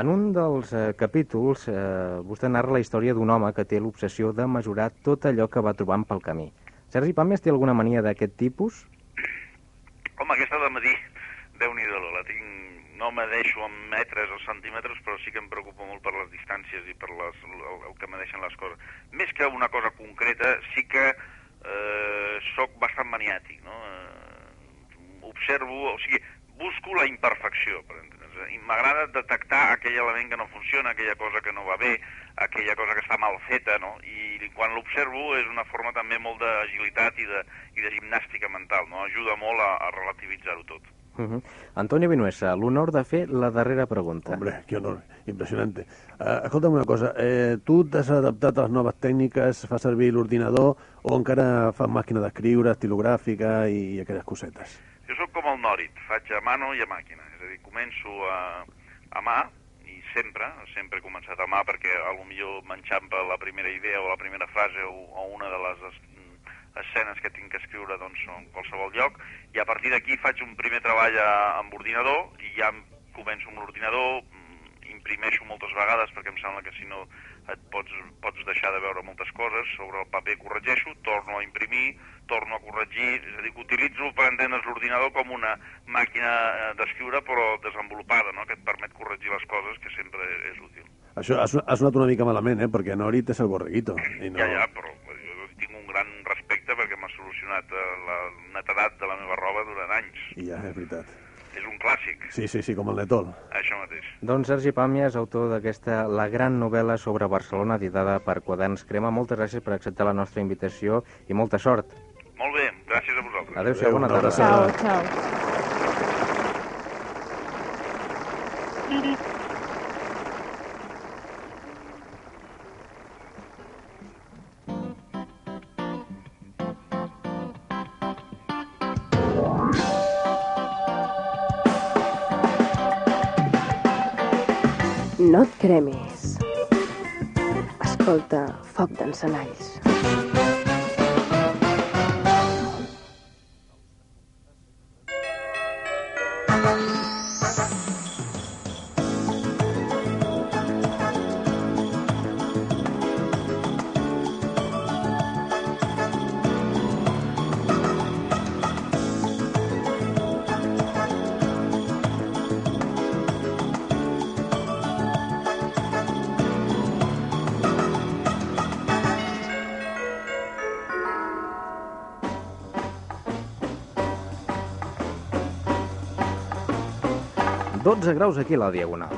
En un dels eh, capítols, eh, vostè narra la història d'un home que té l'obsessió de mesurar tot allò que va trobant pel camí. Sergi Pàmies té alguna mania d'aquest tipus?
Home, aquesta de matí, déu nhi la tinc... No me deixo en metres o centímetres, però sí que em preocupa molt per les distàncies i per les, el, el que me deixen les coses. Més que una cosa concreta, sí que eh, sóc bastant maniàtic, no? Eh, observo, o sigui, busco la imperfecció, per entendre's. eh? I m'agrada detectar aquell element que no funciona, aquella cosa que no va bé, aquella cosa que està mal feta, no? I quan l'observo és una forma també molt d'agilitat i, de, i de gimnàstica mental, no? Ajuda molt a, a relativitzar-ho tot.
Uh -huh. Antonio Vinuesa, l'honor de fer la darrera pregunta.
Hombre, qué honor, impressionante. Uh, escolta'm una cosa, eh, tu t'has adaptat a les noves tècniques, fa servir l'ordinador o encara fas màquina d'escriure, estilogràfica i aquelles cosetes?
Jo sóc com el Norit, faig a mano i a màquina, és a dir, començo a, a mà i sempre, sempre he començat a mà perquè a lo millor m'enxampa la primera idea o la primera frase o, o una de les es- mm, escenes que tinc que escriure doncs, en qualsevol lloc i a partir d'aquí faig un primer treball a, amb ordinador i ja em- començo amb l'ordinador, mm, imprimeixo moltes vegades perquè em sembla que si no et pots, pots deixar de veure moltes coses, sobre el paper corregeixo, torno a imprimir, torno a corregir, és a dir, que utilitzo per entendre's l'ordinador com una màquina eh, d'escriure però desenvolupada, no? que et permet corregir les coses, que sempre és útil.
Això ha, son- ha sonat una mica malament, eh? perquè Norit és el borreguito. I
No.
no...
Ja, ja, però jo tinc un gran respecte perquè m'ha solucionat eh, la netedat de la meva roba durant anys.
I ja, és veritat.
És un clàssic,
Sí, sí, sí, com el Netol.
això mateix.
Doncs Sergi Pàmia és autor d'aquesta La gran novel·la sobre Barcelona, editada per Quaderns Crema. Moltes gràcies per acceptar la nostra invitació i molta sort.
Molt bé, gràcies a vosaltres.
Adéu-siau, bona tarda.
Chao, chao. No et cremis. Escolta, foc d'encenalls.
Doncs 12 graus aquí a la Diagonal.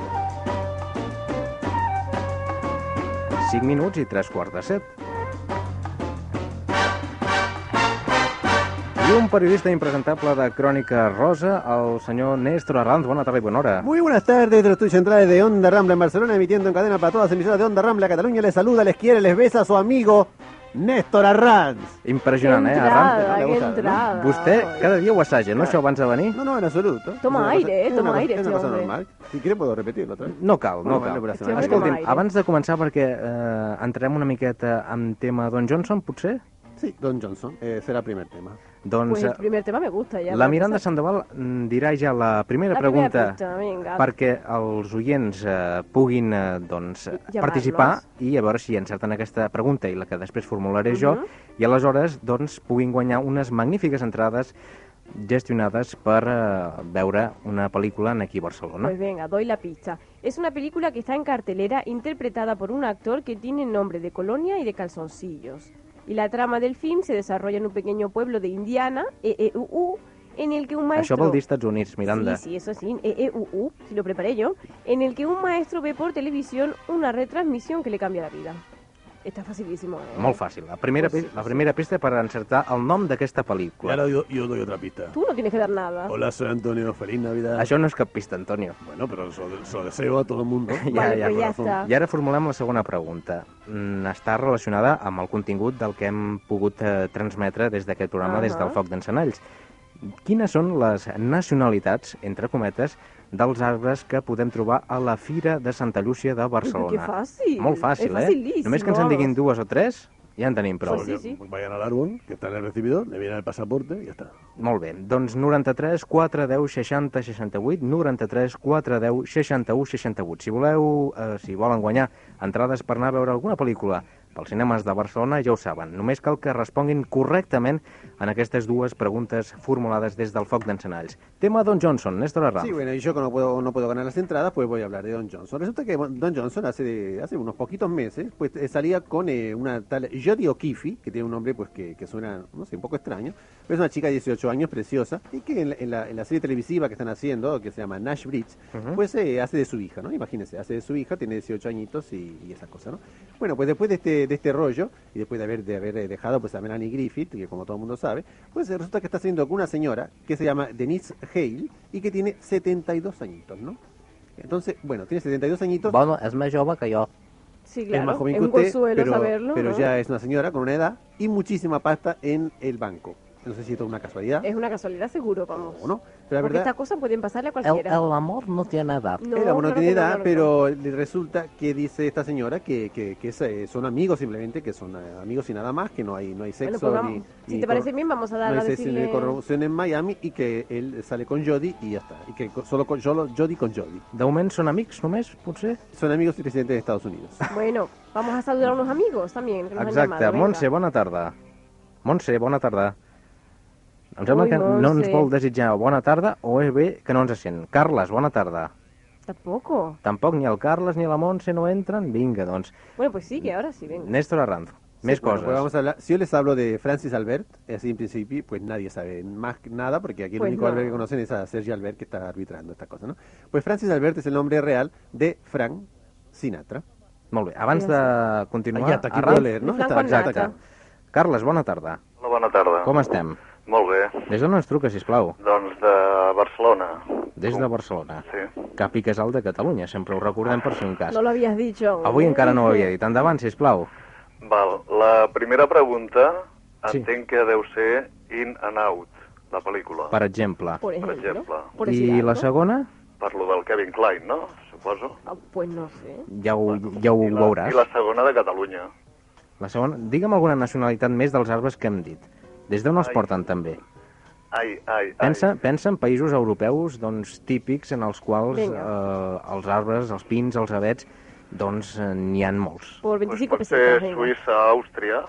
25 minuts i 3 quarts de 7. I un periodista impresentable de Crònica Rosa, el senyor Néstor Arranz. Bona tarda i bona hora.
Muy buenas tardes de los estudios centrales de Onda Rambla en Barcelona, emitiendo en cadena para todas las emisoras de Onda Rambla. Cataluña les saluda, les quiere, les besa a su amigo Néstor Arranz.
Impressionant, eh,
Entrada,
Arranz?
que entrada.
Vostè Eh, cada dia ho assaja, no,
Clar.
això abans de venir?
No, no, en absoluto.
Toma
Es una
aire,
cosa-
eh,
es una
toma
cosa-
aire,
Es una
este
cosa
hombre.
normal. Si quiere puedo repetirlo otra vez.
No cal, no
Bueno,
cal.
vale, pero la-
Escolti'm,
aire.
abans de començar, perquè eh, entrem una miqueta amb tema Don Johnson, potser?
Sí, Don Johnson. Eh, será el primer tema.
Doncs
Pues el
eh,
primer tema me gusta ya.
la
para
Miranda
empezar.
Sandoval mm, dirà ja la primera
La primera
pregunta
pregunta, vinga.
perquè els oients eh, puguin eh, doncs, eh,
Llamar-nos.
participar i a veure si encerten aquesta pregunta i la que després formularé
Mhm.
jo i aleshores doncs, puguin guanyar unes magnífiques entrades gestionades per eh, veure una pel·lícula en aquí a Barcelona.
Pues venga, doy la pista. Es una película que está en cartelera interpretada por un actor que tiene nombre de colonia y de calzoncillos. Y la trama del film se desarrolla en un pequeño pueblo de Indiana, E EEUU, en el que un maestro...
Això vol dir Estats Units, Miranda.
Sí, sí, eso sí, eh, EEUU, si lo preparé yo, en el que un maestro ve por televisión una retransmisión que le cambia la vida. Está facilísimo. ¿eh?
Molt fàcil. La primera,
Pues sí,
pi- la primera pista per encertar el nom d'aquesta pel·lícula.
I ara jo, jo doy otra pista.
Tú no tienes que dar nada.
Hola, soy Antonio. Feliz Navidad.
Això no és cap pista, Antonio.
Bueno, pero se lo, se lo deseo a todo el mundo.
Vale, pues ya está.
I ara formulem la segona pregunta. Mm, Està relacionada amb el contingut del que hem pogut eh, transmetre des d'aquest programa, des del
Ahà.
Foc d'Encenalls. Quines són les nacionalitats, entre cometes, dels arbres que podem trobar a la Fira de Santa Llúcia de Barcelona?
Que fàcil.
Molt fàcil,
És
eh?
facilísimo,
Només que ens en diguin
vamos.
dues o tres, ja en tenim prou.
Vayan al árbol, que está en el recibidor, le viene el pasaporte y ya está.
Molt bé, doncs 93 4 10 60 68, 93 4 10 61 68. Si voleu, eh, si volen guanyar entrades per anar a veure alguna pel·lícula pels cinemes de Barcelona, ja ho saben. Només cal que responguin correctament en aquestes dues preguntes formulades des del foc d'encenalls. Tema Don Johnson, Néstor Arranz.
Sí, bueno, y yo que no puedo, no puedo ganar las entradas, pues voy a hablar de Don Johnson. Resulta que Don Johnson hace, hace unos poquitos meses, pues eh, salía con eh, una tal Jodie O'Keefe, que tiene un nombre pues que, que suena, no sé, un poco extraño, pero es una chica de 18 años, preciosa, y que en la, en la- en la serie televisiva que están haciendo, que se llama Nash Bridge,
Ujú.
pues eh, hace de su hija, ¿no? Imagínense, hace de su hija, tiene 18 añitos y, y esas cosas, ¿no? Bueno, pues después de este, de este rollo, y después de haber, de haber eh, dejado pues a Melanie Griffith, que como todo el mundo sabe, pues eh, resulta que está saliendo con una señora que se llama Denise Hale y que tiene 72 añitos, ¿no? Entonces, bueno, tiene 72 añitos.
Bueno, és més jove que jo.
Sí,
es
claro.
más joven
es
que
un
usted,
consuelo
pero,
saberlo.
pero
¿no?
ya es una señora con una edad y muchísima pasta en el banco. No sé si esto es una casualidad
Es una casualidad seguro, vamos.
o no, pero la
Porque
verdad...
estas cosas pueden pasarle a
El,
cualquiera.
el amor no tiene edad.
No,
Era bueno,
claro
tiene
que no,
edad,
claro que
pero le resulta que dice esta señora que, que, que es, eh, son amigos simplemente, que son eh, amigos y nada más, que no hay, no hay
Bueno,
sexo
pues
ni,
vamos. Si
ni
te
cor-
parece bien, vamos a dar
no
a
hay sexo ni
decirle...
corrupción en Miami y que él sale con Jody y ya está. Y que co- solo con solo Jody con Jody.
De moment són amics només, potser?
Son amigos y presidentes de Estados Unidos.
Bueno, vamos a saludar a unos amigos también que nos han
Exacte,
llamado. venga.
Montse, bona tarda. Montse, bona tarda. Em sembla
Ui,
que no ens
Montse.
vol desitjar bona tarda o és bé que no ens sent. Carles, bona tarda.
Tampoco.
Tampoc ni el Carles ni la Montse no entren. Vinga, doncs.
Bueno, pues sí, que ahora sí, venga.
Néstor Arranzo.
Sí,
Més
bueno,
coses.
pues vamos a hablar- si yo les hablo de Francis Albert, así en principio, pues nadie sabe más que nada, porque aquí el
Pues
único
no.
Albert que conocen es a Sergio Albert, que está arbitrando esta cosa, ¿no? Pues Francis Albert es el nombre real de Frank Sinatra.
Molt bé, abans de continuar...
Ja, hasta aquí
Arranz-
puedo leer, no? Flanco Hasta- hasta
Exacte.
aquí.
Carles, bona tarda.
Hola, bona tarda.
Com estem?
Molt bé.
Des d'on ens truca, sisplau?
Doncs de Barcelona.
Des de Barcelona.
Sí.
Cap i casal de Catalunya, sempre ho recordem per si un cas.
No lo habías dicho.
Ah,
Avui encara no ho havia dit. Endavant, sisplau.
Val. La primera pregunta
Sí.
entenc que deu ser In and Out, la pel·lícula.
Per exemple.
Por
Per exemple.
I la segona?
Parlo del Kevin Klein, no? Suposo.
Ah, pues no sé.
Ja ho, ja ho
I
veuràs.
la segona de Catalunya.
La segona... Digue'm alguna nacionalitat més dels arbres que hem dit. Des d'on els
Ai.
porten, també?
Ai, ai, ai.
Pensa, pensa en països europeus doncs, típics en els quals eh,
Vinga.
els arbres, els pins, els avets, doncs eh, n'hi han molts.
Por 25
Pot ser
pesetas, venga.
Suïssa, Àustria.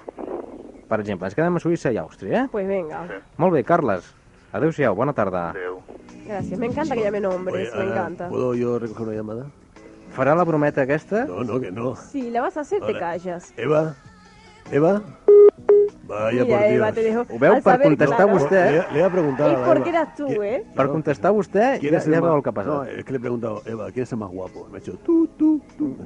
Per exemple, ens quedem a Suïssa i Àustria, eh?
Pues venga.
Molt bé, Carles. Adéu-siau, bona tarda.
Adéu.
Gracias. Me encanta que llame nombres. me encanta.
eh, ¿Puedo yo recoger una llamada?
Farà la brometa aquesta?
No, no, que no.
Si la vas a hacer, te
Hola.
callas.
Eva, Eva, vaya
Mira,
por Dios.
Eva, te dejo.
Ho veu?
Al
Per
saber,
contestar
claro.
vostè... eh?
Le, le voy a preguntar
Es
a la
porque
Eva.
eras tú, ¿eh?
Per contestar vostè,
¿Quién
ja,
es el
ja
más-
veu el que ha passat.
No, es que le he preguntado, Eva, ¿quién es el más guapo? Me ha dicho, tú, tú,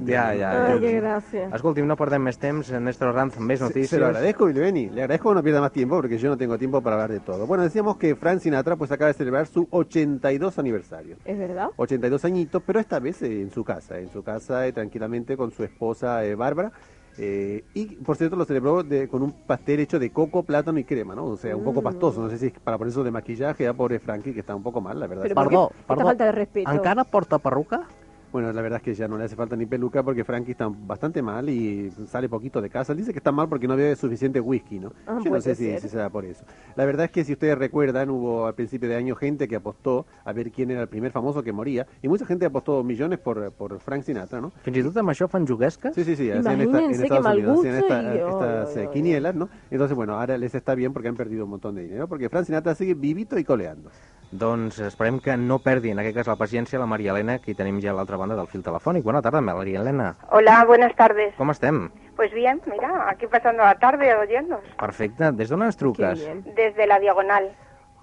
Ja, ja. ja.
Ai, que gràcia.
Escolti, no perdem més temps. Néstor Ranz, més
Se-
notícies.
Se lo agradezco, Bilbeni. Le agradezco que no pierda más tiempo porque yo no tengo tiempo para hablar de todo. Bueno, decíamos que Frank Sinatra pues acaba de celebrar su 82 aniversario.
¿Es verdad?
82 añitos, pero esta vez eh, en su casa, en su casa eh, tranquilamente con su esposa eh, Bárbara. Eh, y por cierto lo celebró de- con un pastel hecho de coco, plátano y crema, ¿no? O sea, un poco
Mm.
pastoso, no sé si es para ponerse de maquillaje, a pobre Frankie que está un poco mal, la verdad.
Pero ¿por qué Perdó, esta perdó. falta de respeto? ¿Encara
porta perruca? Bueno, la verdad es que ya no le hace falta ni peluca porque Frankie está bastante mal y sale poquito de casa. Dice que está mal porque no bebe suficiente whisky, ¿no?
Ah,
Yo no
puede
sé si,
ser.
si será por eso. La verdad es que si ustedes recuerdan, hubo al principio de año gente que apostó a ver quién era el primer famoso que moría. Y mucha gente apostó millones por, por Frank Sinatra, ¿no?
Fins i tot amb això fan juguesques?
Sí, sí, sí. hacían esta- en
Imagínense
Estados
que mal
Unidos hacían
gusto
esta-
y- oy,
estas eh, quinielas, ¿no? Entonces, bueno, ahora les está bien porque han perdido un montón de dinero porque Frank Sinatra sigue vivito y coleando.
Doncs esperem que no perdi, en aquest cas, la paciència la Maria Elena, que hi tenim ja a l'altra banda del fil telefònic. Bona tarda, Maria Elena.
Hola, buenas tardes.
Com estem?
Pues bien, mira, aquí pasando la tarde oyéndonos.
Perfecte. Des d'on ens truques?
Desde la diagonal.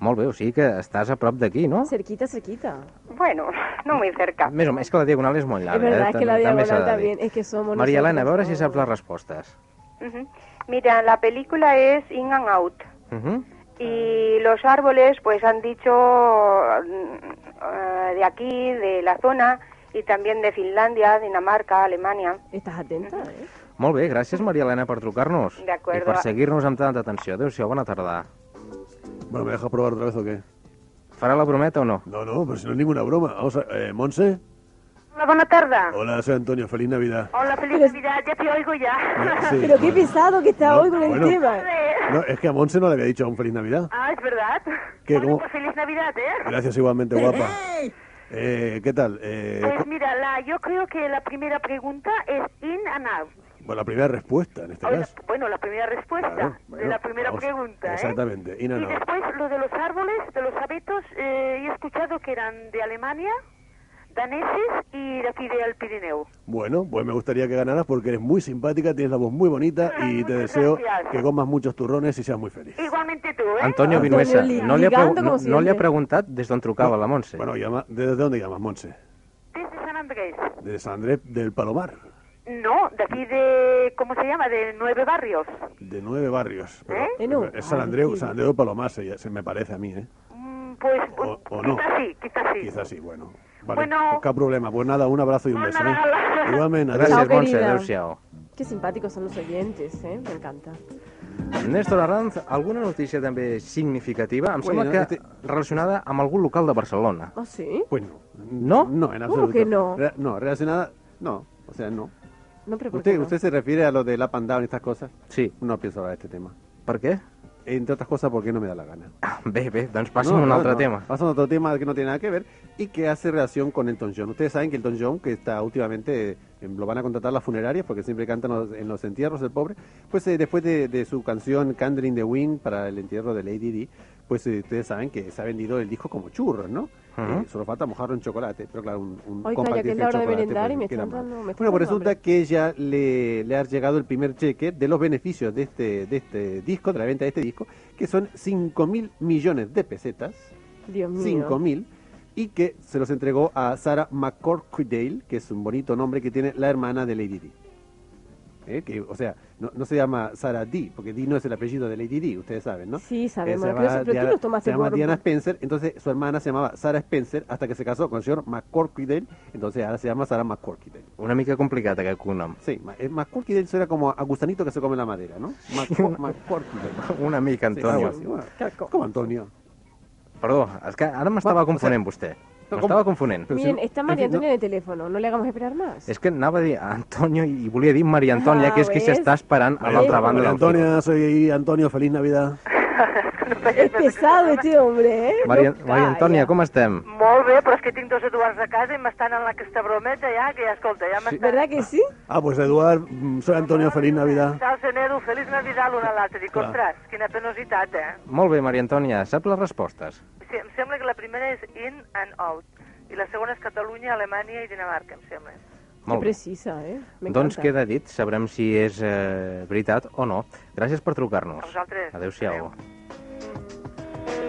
Molt bé, o sigui que estàs a prop d'aquí, no?
Cerquita, cerquita.
Bueno, no muy cerca.
Més o menys, és que la diagonal és molt
es
llarga.
verdad,
eh?
es que la
També s'ha
diagonal
de dir.
también. Es que somos
Maria Elena, a
nosotros.
veure si saps les respostes.
Ujú. Mira, la película es In and Out.
Uh -huh.
Y los árboles, pues han dicho mm, eh, de aquí, de la zona, y también de Finlandia, Dinamarca, Alemania.
Estás atenta, ¿eh?
Molt bé, gràcies, Maria Elena, per trucar-nos.
De acuerdo.
I per seguir-nos amb tanta atenció. Adéu-siau, bona tarda.
Bueno, ¿me dejas probar otra vez o qué?
¿Fará la brometa o no?
No, no, pero si no es ninguna broma. Vamos a... Eh, ¿Monse?
Hola, buenas tardes.
Hola, soy Antonio. Feliz Navidad.
Hola, feliz Navidad, ya te oigo ya. eh.
Sí,
Pero qué
bueno.
pesado que está hoy con el
bueno.
tema.
No, es que a Monse no le había dicho aún Feliz Navidad.
Ah, es verdad.
¿Qué,
Bueno,
cómo?
pues feliz Navidad, ¿eh?
Gracias igualmente, guapa. Eh, ¿Qué tal? Eh,
Pues
cu-
mira, la, yo creo que la primera pregunta es in and out.
bueno, la primera respuesta en este
O la-
caso.
bueno, la primera respuesta
Claro, bueno,
de la primera
vamos,
pregunta, ¿eh?
Exactamente, in
Y
and out.
después lo de los árboles, de los abetos, eh, he escuchado que eran de Alemania, daneses y de aquí del Pirineo.
Bueno, pues me gustaría que ganaras porque eres muy simpática, tienes la voz muy bonita y te deseo
gracias.
que comas muchos turrones y seas muy feliz.
Igualmente tú, ¿eh?
Antonio Vinuesa, no li, ha pregu- no, no li ha preguntat des d'on trucava la Montse.
Bueno, llama, ¿desde dónde llamas, Monse?
Desde San Andrés.
Desde San Andrés del Palomar,
No, de aquí de, ¿cómo se llama? De Nueve Barrios.
de nueve barrios. Pero
¿Eh? Eh, no.
Es San Andreu, San Andreu del Palomar, se, se me parece a mí, ¿eh?
Mm, Pues
O, o no.
quizás sí, quizás sí.
Quizás sí, bueno. Vale,
Bueno.
qué problema. Pues nada, un abrazo y un beso. ¿eh? Igualmente,
Gracias,
Chao,
Montse,
querida.
adéu-siau.
Qué simpáticos son los oyentes, ¿eh? Me encanta.
Néstor Arranz, alguna notícia també significativa? Em sembla
Bueno,
que
este-
relacionada amb algun local de Barcelona.
¿Ah, sí?
Pues no.
¿No?
No, en
¿Cómo
absoluto.
que no?
Re- no, relacionada, no, o sea, no.
No, pero ¿por qué
¿Usted,
no?
¿Usted se refiere a lo del up and down y estas cosas?
Sí.
No pienso hablar de este tema.
¿Por qué?
Entre otras cosas porque no me da la gana.
Bé, bé, doncs passim
No,
a un
no,
altre
no.
tema.
Pasamos a otro tema que no tiene nada que ver y que hace relación con Elton John. Ustedes saben que Elton John, que está últimamente, eh, lo van a contratar las funerarias porque siempre cantan los- en los entierros el pobre, pues eh, después de, de su canción Candle in the Wind para el entierro de Lady Di, pues eh, ustedes saben que se ha vendido el disco como churros, ¿no?
Ujú.
Eh, solo falta mojarlo en chocolate, pero claro, un, un
Oiga, ya
compact
que es
disc
la
de
hora de
chocolate,
merendar
pues,
y me
queda
están
mal.
dando- me está
Bueno, pues
dando hambre.
resulta que ella le, le ha llegado el primer cheque de los beneficios de este, de este disco, de la venta de este disco, que son 5 mil millones de pesetas,
Dios mío.
5 mil, y que se los entregó a Sarah McCorkdale, que es un bonito nombre que tiene la hermana de Lady Di. Eh, que, o sea, no, no se llama Sarah Di, porque Di no es el apellido de Lady Di, ustedes saben, ¿no?
Sí, sabemos.
Eh, se
pero,
llamaba
pero tú
Diana-
los tomaste
se llama
por-
Diana Spencer, entonces su hermana se llamaba Sarah Spencer hasta que se casó con el señor McCorkidale, entonces ahora se llama Sarah McCorkidale.
Una mica complicat aquest cognom.
Sí, ma- eh, McCorkidale suena como a gusanito que se come la madera, ¿no? McCor- McCorkidale.
Una mica,
Sí, algo
Antonio.
así, bueno, ca- co- ¿Cómo Antonio?
Perdó, és que ara m'estava confonent vostè. M'estava confonent.
Miren, está María Antonia en el teléfono. No le hagamos esperar más.
És que anava a dir Antonio i volia dir Maria Antònia,
Ah,
que és qui
ves?
s'està esperant a l'altra banda
María
del fil.
Antonia, soy Antonio, feliz Navidad.
Es pesado este hombre, ¿eh?
Maria,
Ah,
Maria Antònia, com estem?
Molt bé, però és que tinc dos Eduards a casa i m'estan en aquesta brometa ja, que ja, escolta, ja m'estan...
¿Verdad que sí?
Ah, pues Eduard, mm, soy Antonio, feliz Navidad.
Saps, en Edu, feliç Navidad l'un a l'altre. Dic,
Clar.
ostres, quina penositat, eh?
Molt bé, Maria Antònia, sap les respostes?
Sí, em sembla que la primera és in and out. I la segona és Catalunya, Alemanya i Dinamarca, em sembla.
Molt bé.
precisa, ¿eh?
Doncs queda dit, sabrem si és eh, veritat o no. Gràcies per trucar-nos.
A vosaltres.
Adéu-siau.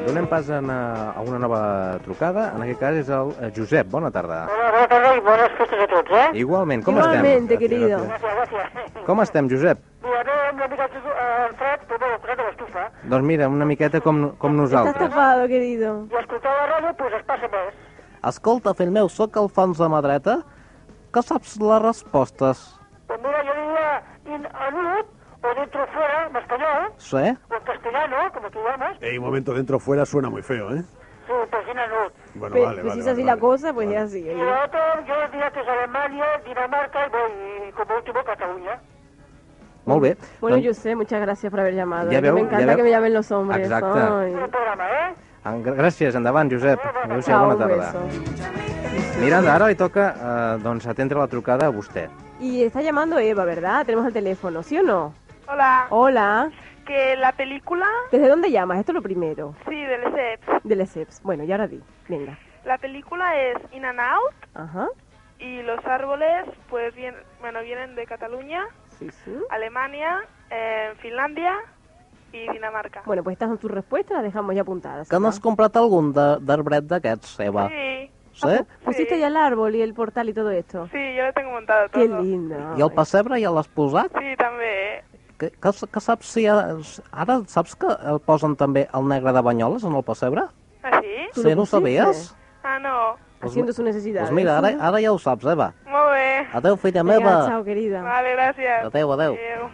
Donem pas a una, a una nova trucada, en aquest cas és el eh, Josep. Bona tarda.
Bona tarda i bones festes a tots, eh?
Igualment, com
Igualmente,
estem?
querido.
Com estem, Josep?
Mira, no, una mica eh, fred, però bueno, posat a l'estufa.
Doncs mira, una miqueta com, com
Estás
nosaltres.
tapado, querido.
I escoltar la ràdio, doncs es passa més.
Escolta, fill meu, sóc el fons de mà dreta, que saps les respostes.
Doncs mira, jo diria in anut, o dentro fuera, en espanyol,
Sí?
o
Pues
en castellano, com aquí vamos,
Ey, un momento, dentro fuera suena muy feo, ¿eh?
sí, pues in anut.
Bueno,
Pe-
vale,
pues
vale.
si es así la cosa, pues ya sí.
Y lo otro, yo diría que es Alemania, Dinamarca y, voy, y como último Cataluña.
Molt bé.
Bueno,
doncs,
yo sé, muchas gracias por haber llamado.
Ya
¿eh?
veo,
me
ya
encanta
veo.
que me llamen los hombres.
Exacto.
Ay.
en- gràcies, endavant, Josep. Adéu-siau,
Chao,
bona
un
tarda.
beso.
Miranda, ara li toca eh, doncs, atendre la trucada a vostè.
Y está llamando Eva, ¿verdad? Tenemos el teléfono, ¿sí o no?
Hola,
Hola.
que la película,
¿Desde dónde llamas? Esto es lo primero.
sí, del SEP,
Del ESEPS. E Bueno, y ahora di. Venga.
la película es In and Out
Ajá.
y los árboles, pues bien, bueno, vienen de Cataluña,
Sí, sí.
¿Mm?
Alemania, eh, Finlandia y Dinamarca.
Bueno, pues estas son tus respuestas, las dejamos ya apuntadas.
Que n'has comprat algun de- d'arbret d'aquests, Eva?
Sí.
Sí?
Pusiste ya el árbol y el portal y todo esto.
Sí, yo lo tengo montado todo.
Qué lindo.
I el pessebre ja l'has posat?
Sí, també.
Que, que, que saps si ara, ara saps que el posen també el negre de Banyoles en el pessebre?
¿Ah, sí?
¿Tú lo Sí, no pusiste? sabías?
Ah, no.
Pues Haciendo mi-
su necesidad. ¿eh?
Doncs mira, ah. ara, ara ja ho saps, Eva.
Molt bé.
Adéu, filla meva.
querida.
Vale, gracias.
Adéu, adéu.
Adéu.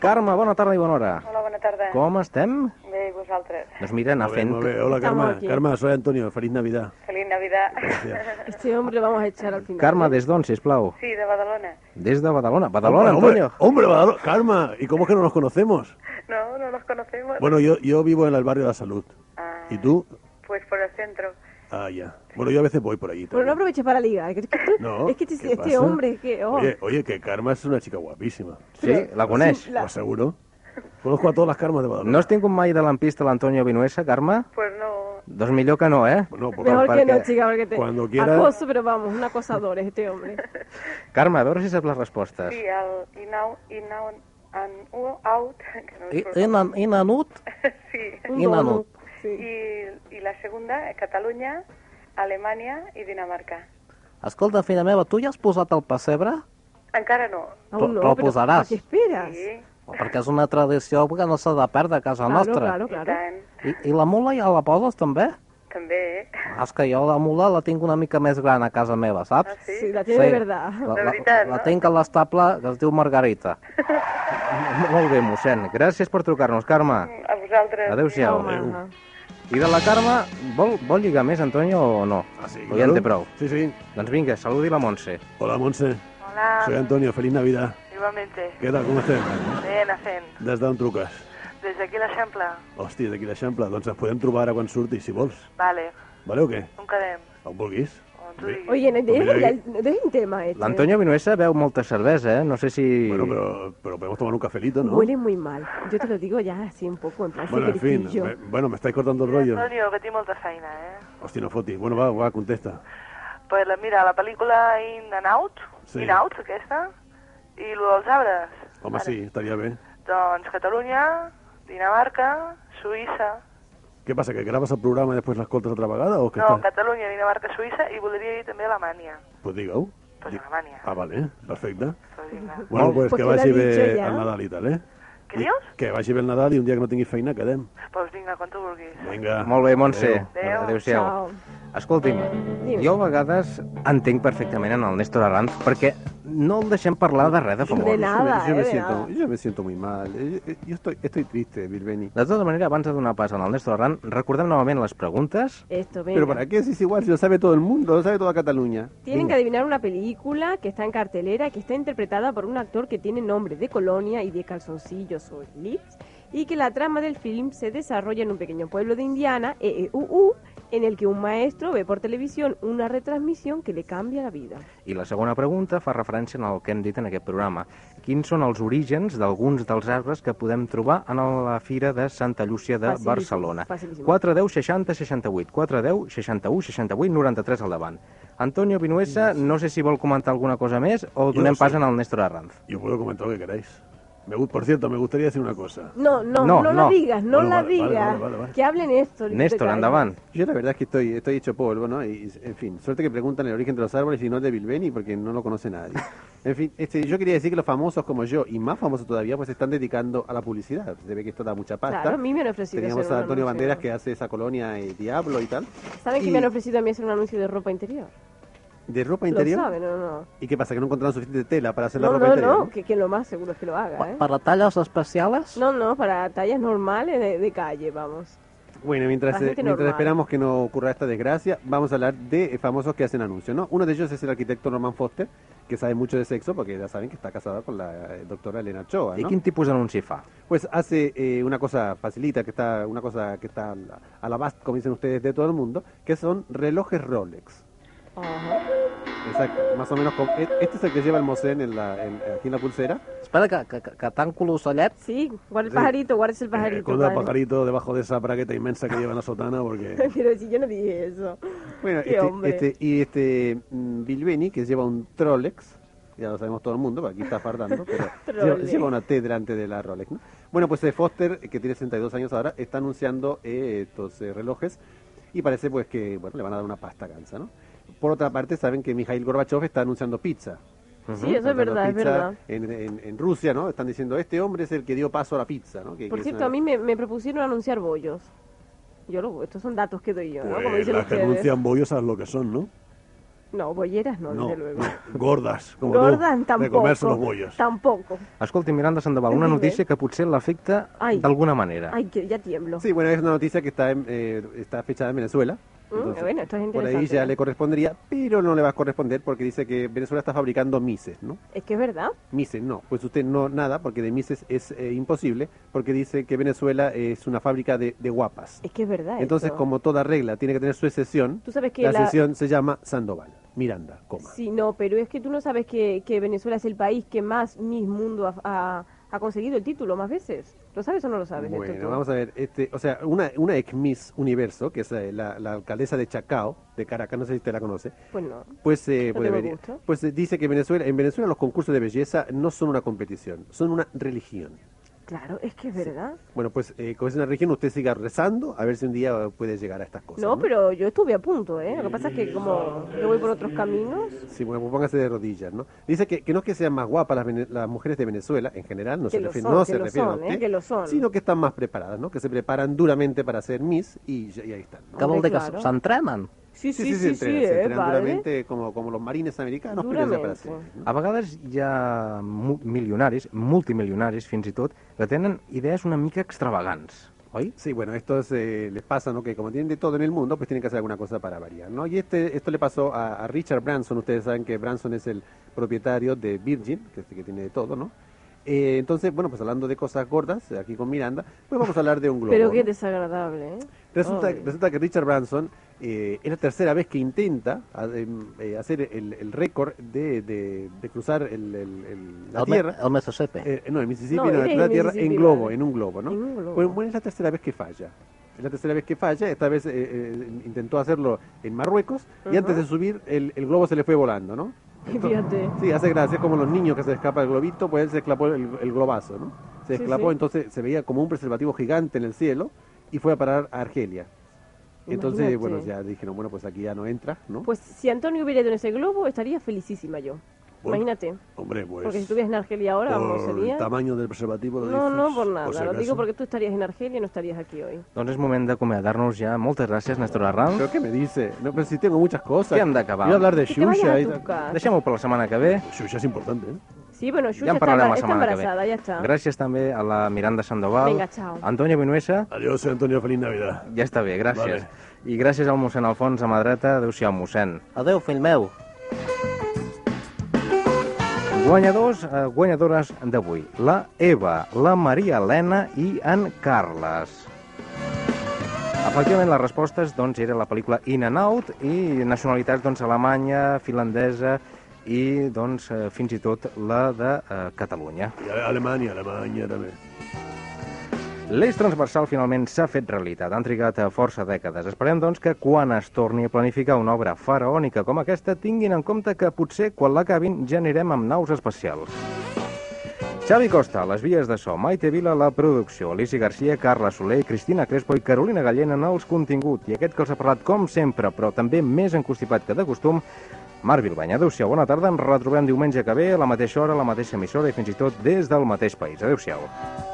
Carme, bona tarda i bona hora.
Hola, bona tarda.
Com estem?
Bé, i vosaltres?
Doncs mira, anar
Molt bé,
fent...
molt bé. Hola, Carme. Carme, soy Antonio. Feliz Navidad.
Feliz Navidad.
Este hombre lo vamos a echar al final. ¿eh?
Carme, des d'on, sisplau?
Sí, de Badalona.
Des de Badalona. Badalona,
hombre,
Antonio.
Hombre, Badalo- Karma, ¿y cómo es que no nos conocemos?
No, no nos conocemos. Ah,
Bueno, yo, yo vivo en el barrio de la salud. ¿Y tú?
Pues por el centro.
Ah, ya. Bueno, yo a veces voy por allí.
Pero no aproveches para ligar. que- que tú-
No,
es que este,
¿qué
este
pasa?
hombre, es que... oh.
Oye, oye, que Karma es una chica guapísima. Pues
Sí, la coneix.
Lo aseguro. Conozco a todas las Karmas de Badalona.
No has tingut mai de lampista l'Antonio Vinuesa, Carme?
Pues no.
Doncs millor que no, eh?
No,
Mejor que no, chica, porque te...
Cuando quiera-
Acoso, pero vamos, un acosador es este hombre.
Carme, a veure si saps les respostes.
Sí, el in out, in out, and u- out. Que no
I,
sé.
i, nan- i nanut?
sí.
Un In and donut, out.
Y, y la segunda, eh, Cataluña, Alemania y Dinamarca.
Escolta, filla meva, tu ja has posat el pessebre?
Encara no.
Però- no, però però- posaràs.
¿Qué esperas?
Perquè és una tradició que no s'ha de perdre a casa nostra.
I tant,
I, I la mula ja la poses, també?
també, eh?
Ah, És que jo la mula la tinc una mica més gran a casa meva, saps?
sí? Sí, la
tiene de verdad.
La,
De
la,
veritat,
la
no?
tinc a l'estable que es diu Margarita.
Molt bé, mossèn. Gràcies per trucar-nos, Carme.
A vosaltres.
Adéu-siau.
Home,
Adéu.
ajá.
I de la Carme, vol, vol lligar més, Antonio, o no? Ah, sí, ja en té prou.
Sí, sí.
Doncs vinga, saludi la Montse.
Hola, Montse.
Hola.
Soy Antonio. Feliz Navidad.
Igualmente.
Què tal, com estem?
Bé, Nacen.
Des d'on truques?
Des d'aquí l'Eixample.
Hòstia, d'aquí l'Eixample. Doncs ens podem trobar ara quan surti, si vols.
Vale,
Vale o què?
on quedem?
On vulguis.
Oye, no,
Mira,
dejen, la- dejen tema este.
L'Antonio Vinuesa veu molta cervesa, eh? No sé si... Bueno,
però, però podemos tomar un cafelito, ¿no?
Huele muy mal. Yo te lo digo ya así un poco, en plan
Bueno, en fin.
secretillo.
me- bueno, me estáis cortando el rollo.
Antonio, que tinc molta feina, eh?
Hòstia, no fotis. Bueno, va, va, contesta.
Pues la, mira, la pel·lícula In and Out,
Sí.
In Out, aquesta, i lo dels arbres.
Home, sí, estaria bé.
Doncs Catalunya, Dinamarca, Suïssa...
Què passa, que graves el programa i després l'escoltes altra vegada? O que
No,
estàs-
Catalunya, Dinamarca, Suïssa, i voldria dir també Alemanya.
Pues digue-ho.
Pues Alemanya.
Ah, vale, perfecte.
Vinga.
Bueno, pues,
Pues
que
te lo
vagi
he dicho
bé
ya.
el Nadal i tal, eh?
Què dius?
Que vagi bé el Nadal i un dia que no tinguis feina quedem.
Pues vinga, quan tu vulguis.
Vinga.
Molt bé, Montse.
Adéu.
Adéu-siau. Escolti'm, jo a vegades entenc perfectament en el Néstor Arranz perquè no el deixem parlar de res de
Yo me-
famós.
yo me siento, yo me siento muy mal. Eh, eh, Yo estoy, estoy triste, Bilbeni.
De tota manera, abans de donar pas al Néstor Arranz, recordem novament les preguntes.
Esto, venga.
Pero ¿para qué es igual? Si lo sabe todo el mundo, lo sabe toda Cataluña.
Tienen que adivinar una película que está en cartelera, que está interpretada por un actor que tiene nombre de colonia y de calzoncillos o lips, y que la trama del film se desarrolla en un pequeño pueblo de Indiana, E EEUU, en el que un maestro ve por televisión una retransmisión que le cambia la vida.
I la segona pregunta fa referència al que hem dit en aquest programa. Quins són els orígens d'alguns dels arbres que podem trobar en la Fira de Santa Llúcia de
Facilíssim,
Barcelona?
facilíssim.
4, 10, 60, 68. 4, 10, 61, 68, 93 al davant. Antonio Vinuesa, no sé si vol comentar alguna cosa més o donem
sí.
pas en el Néstor Arranz.
Yo puedo comentar lo que queráis. Me gu- por cierto, me gustaría decir una cosa.
No, no,
No, no.
no, la digas, no
Bueno,
la
vale, vale,
digas.
vale, vale, vale.
Que hable Néstor. y te calles.
Yo la verdad es que estoy, estoy hecho polvo, ¿no? Y, en fin, suerte que preguntan el origen de los árboles y no el de Bilbeni porque no lo conoce nadie. En fin, este, yo quería decir que los famosos como yo, y más famosos todavía, pues se están dedicando a la publicidad. Se ve que esto da mucha pasta.
Claro, a mí me han ofrecido
Teníamos
hacer
a
un
Antonio
anuncio.
Banderas que hace esa colonia eh, Diablo y tal.
¿Saben que
Y-
me han ofrecido a mí hacer un anuncio de ropa interior?
¿De ropa interior?
Lo saben, no, no.
¿Y qué pasa? ¿Que no encontraron suficiente tela para hacer la
No,
ropa
no,
interior?
no, que, que lo más seguro es que lo haga, ¿eh?
¿Para tallas especiales?
No, no, para tallas normales de, de calle, vamos.
Bueno,
La
mientras, eh,
gente
mientras
normal.
esperamos que no ocurra esta desgracia, vamos a hablar de eh, famosos que hacen anuncios, ¿no? Uno de ellos es el arquitecto Norman Foster, que sabe mucho de sexo, porque ya saben que está casado con la eh, doctora Elena Choa,
I
¿no?
quin tipus d'anunci fa?
Pues hace eh, una cosa facilita, que está una cosa que está al- a la vasta, como dicen ustedes, de todo el mundo, que son relojes Rolex. Exacto, más o menos. como- e- Este es el que lleva el Mosén en la, en- aquí en la pulsera.
Espera, que, que, que, que tanco l'ocellet.
Sí, guarda el
Sí.
pajarito, guardes el
Eh,
pajarito.
Colga el
padre.
pajarito debajo de esa bragueta inmensa que lleva en la sotana porque...
Pero si yo no dije eso.
Bueno,
Qué hombre.
este, este- y este mm, Bilbeni, que lleva un Trolex, ya lo sabemos todo el mundo, porque aquí está fardando, pero lleva,
Trolex.
lleva una T delante de la Rolex. ¿no? Bueno, pues eh, Foster, eh, que tiene 62 años ahora, está anunciando eh, estos eh, relojes y parece pues que bueno le van a dar una pasta cansa, ¿no? Por otra parte, saben que Mikhail Gorbachev está anunciando pizza.
Sí, eso es
Está anunciando
verdad, es
pizza
verdad.
En, en- en Rusia, ¿no? Están diciendo, este hombre es el que dio paso a la pizza, ¿no? Que- que
Por
es
cierto,
una-
a mí me, me propusieron anunciar bollos. Yo lo, estos son datos que doy yo, ¿no? Como
Pues,
dicen
las que
ustedes.
anuncian bollos saben lo que son, ¿no?
No, bolleras no,
No,
desde luego.
Gordas, com
Gordas
tu, de
tampoco.
comer-se los bollos.
Tampoco.
Escolti, Miranda Sandoval, una
Dime.
notícia que potser l'afecta
Ai.
d'alguna manera.
Ay, que ya tiemblo.
Sí, bueno, es una noticia que está, en, eh, está fechada en Venezuela.
Mm, bueno, esto
por
es
ahí
interesante. ¿eh?
ya le correspondería, pero no le va a corresponder porque dice que Venezuela está fabricando mises, ¿no?
Es que es verdad.
Mises, no, pues usted no nada, porque de mises es eh, imposible, porque dice que Venezuela es una fábrica de, de guapas.
Es que es verdad.
Entonces,
esto.
como toda regla, tiene que tener su excepción.
Tú sabes que
la,
la-
excepción se llama Sandoval, Miranda, coma.
Sí, no, pero es que tú no sabes que, que Venezuela es el país que más Miss Mundo ha, ha- ha conseguido el título más veces. ¿Lo sabes o no lo sabes? Néstor,
Bueno,
tú?
vamos a ver, este, o sea, una, una ex Miss Universo, que es eh, la, la alcaldesa de Chacao, de Caracas, no sé si usted la conoce,
Pues no.
Pues, eh, pues
No tengo
debería.
gusto.
Pues, eh, dice que Venezuela, en Venezuela los concursos de belleza no son una competición, son una religión.
Claro, es que es verdad.
Bueno, pues eh, como es una religión, usted siga rezando a ver si un día eh, puede llegar a estas cosas.
no, pero yo estuve a punto, ¿eh? Lo que pasa es que como yo voy por otros caminos...
Sí, bueno, pues póngase de rodillas, ¿no? Dice que, que no es que sean más guapas las, vene- las mujeres de Venezuela, en general, no
Que
se
lo
refiere,
son,
no
que
se
lo
refiere a
son, ¿eh?
usted,
Que lo son.
sino que están más preparadas, ¿no? Que se preparan duramente para ser Miss y, ya- y ahí están. ¿no?
Que vol dir que s- s'entrenen?
Sí,
Sí, sí, se entrenan, se
eh,
entrenan
padre.
duramente como, como los marines americanos, pero ya para ser.
A vegades hi ha mu- milionaris, multimilionaris fins i tot, que tenen idees una mica extravagants, oi?
Sí, bueno, esto eh, les pasa, ¿no? Que como tienen de todo en el mundo, pues tienen que hacer alguna cosa para variar, ¿no? Y este, esto le pasó a, a Richard Branson. Ustedes saben que Branson es el propietario de Virgin, que, es- que tiene de todo, ¿no? Eh, entonces, bueno, pues hablando de cosas gordas, eh, aquí con Miranda, pues vamos a hablar de un globo.
Pero qué
¿no?
desagradable, ¿eh?
Resulta,
Ay.
resulta que Richard Branson eh, es la tercera vez que intenta a- em, eh, hacer el, el récord de, de- de cruzar el- el- el- la
El,
Tierra.
me, el Mississippi.
Eh, no, en Mississippi,
No,
no,
era
en
en
la Tierra, en
Mississippi,
globo,
vale.
en un globo, ¿no?
En un globo.
Bueno, bueno, es la tercera vez que falla. Es la tercera vez que falla, esta vez eh, eh, intentó hacerlo en Marruecos y
Ajá.
antes de subir el, el globo se le fue volando, ¿no?
Fíjate.
Sí, hace gracia, como los niños que se escapa el globito, pues él se escapó el, el globazo, ¿no? Se
Sí,
escapó,
sí.
entonces se veía como un preservativo gigante en el cielo y fue a parar a Argelia. Entonces,
Imagínate.
bueno, ya dijeron, bueno, pues aquí ya no entra, ¿no?
Pues si Antonio hubiera ido en ese globo, estaría felicísima yo.
Bueno,
Imagínate.
Hombre, pues,
Porque si estuvieras en Argelia ahora, vamos,
por
sería...
el tamaño del preservativo... lo
No, no,
dices,
por nada.
si
Lo
acaso.
digo porque tú estarías en Argelia y no estarías aquí hoy.
Doncs és moment d'acomiadar-nos ja. Moltes gràcies, Néstor Arran.
Però què me dice? No, però si tengo muchas cosas.
Què hem d'acabar?
Voy a hablar de Que te vayan Xuxa a
i tal. tocar.
Deixem-ho per la setmana que ve. Xuxa és important, eh?
Sí, bueno,
Ja
Xuxa
en
está,
parlarem la
está
setmana que ve.
embarazada, ya está.
Gràcies també a la Miranda Sandoval.
Vinga, chao.
Antonio Vinuesa. Adiós, Antonio, feliz Navidad. Ja està bé, gràcies. Vale. I gràcies al mossèn Alfons a mà dreta. Adéu-siau, mossèn.
Adéu, fill meu.
Guanyadors, eh, guanyadores d'avui. La Eva, la Maria Helena i en Carles. Efectivament, les respostes doncs, era la pel·lícula In and Out i nacionalitats doncs, alemanya, finlandesa i doncs, eh, fins i tot la de eh, Catalunya.
I a Alemanya, Alemanya també.
L'eix transversal finalment s'ha fet realitat. Han trigat eh, força dècades. Esperem, doncs, que quan es torni a planificar una obra faraònica com aquesta, tinguin en compte que potser quan l'acabin ja anirem amb naus especials. Xavi Costa, les vies de so, Maite Vila, la producció, Alicia Garcia, Carla Soler, Cristina Crespo i Carolina Gallena en els contingut. I aquest que els ha parlat com sempre, però també més encostipat que de costum, Marc Vilbany. Adéu-siau, bona tarda. Ens retrobem diumenge que ve a la mateixa hora, a la mateixa emissora i fins i tot des del mateix país. Adéu-siau.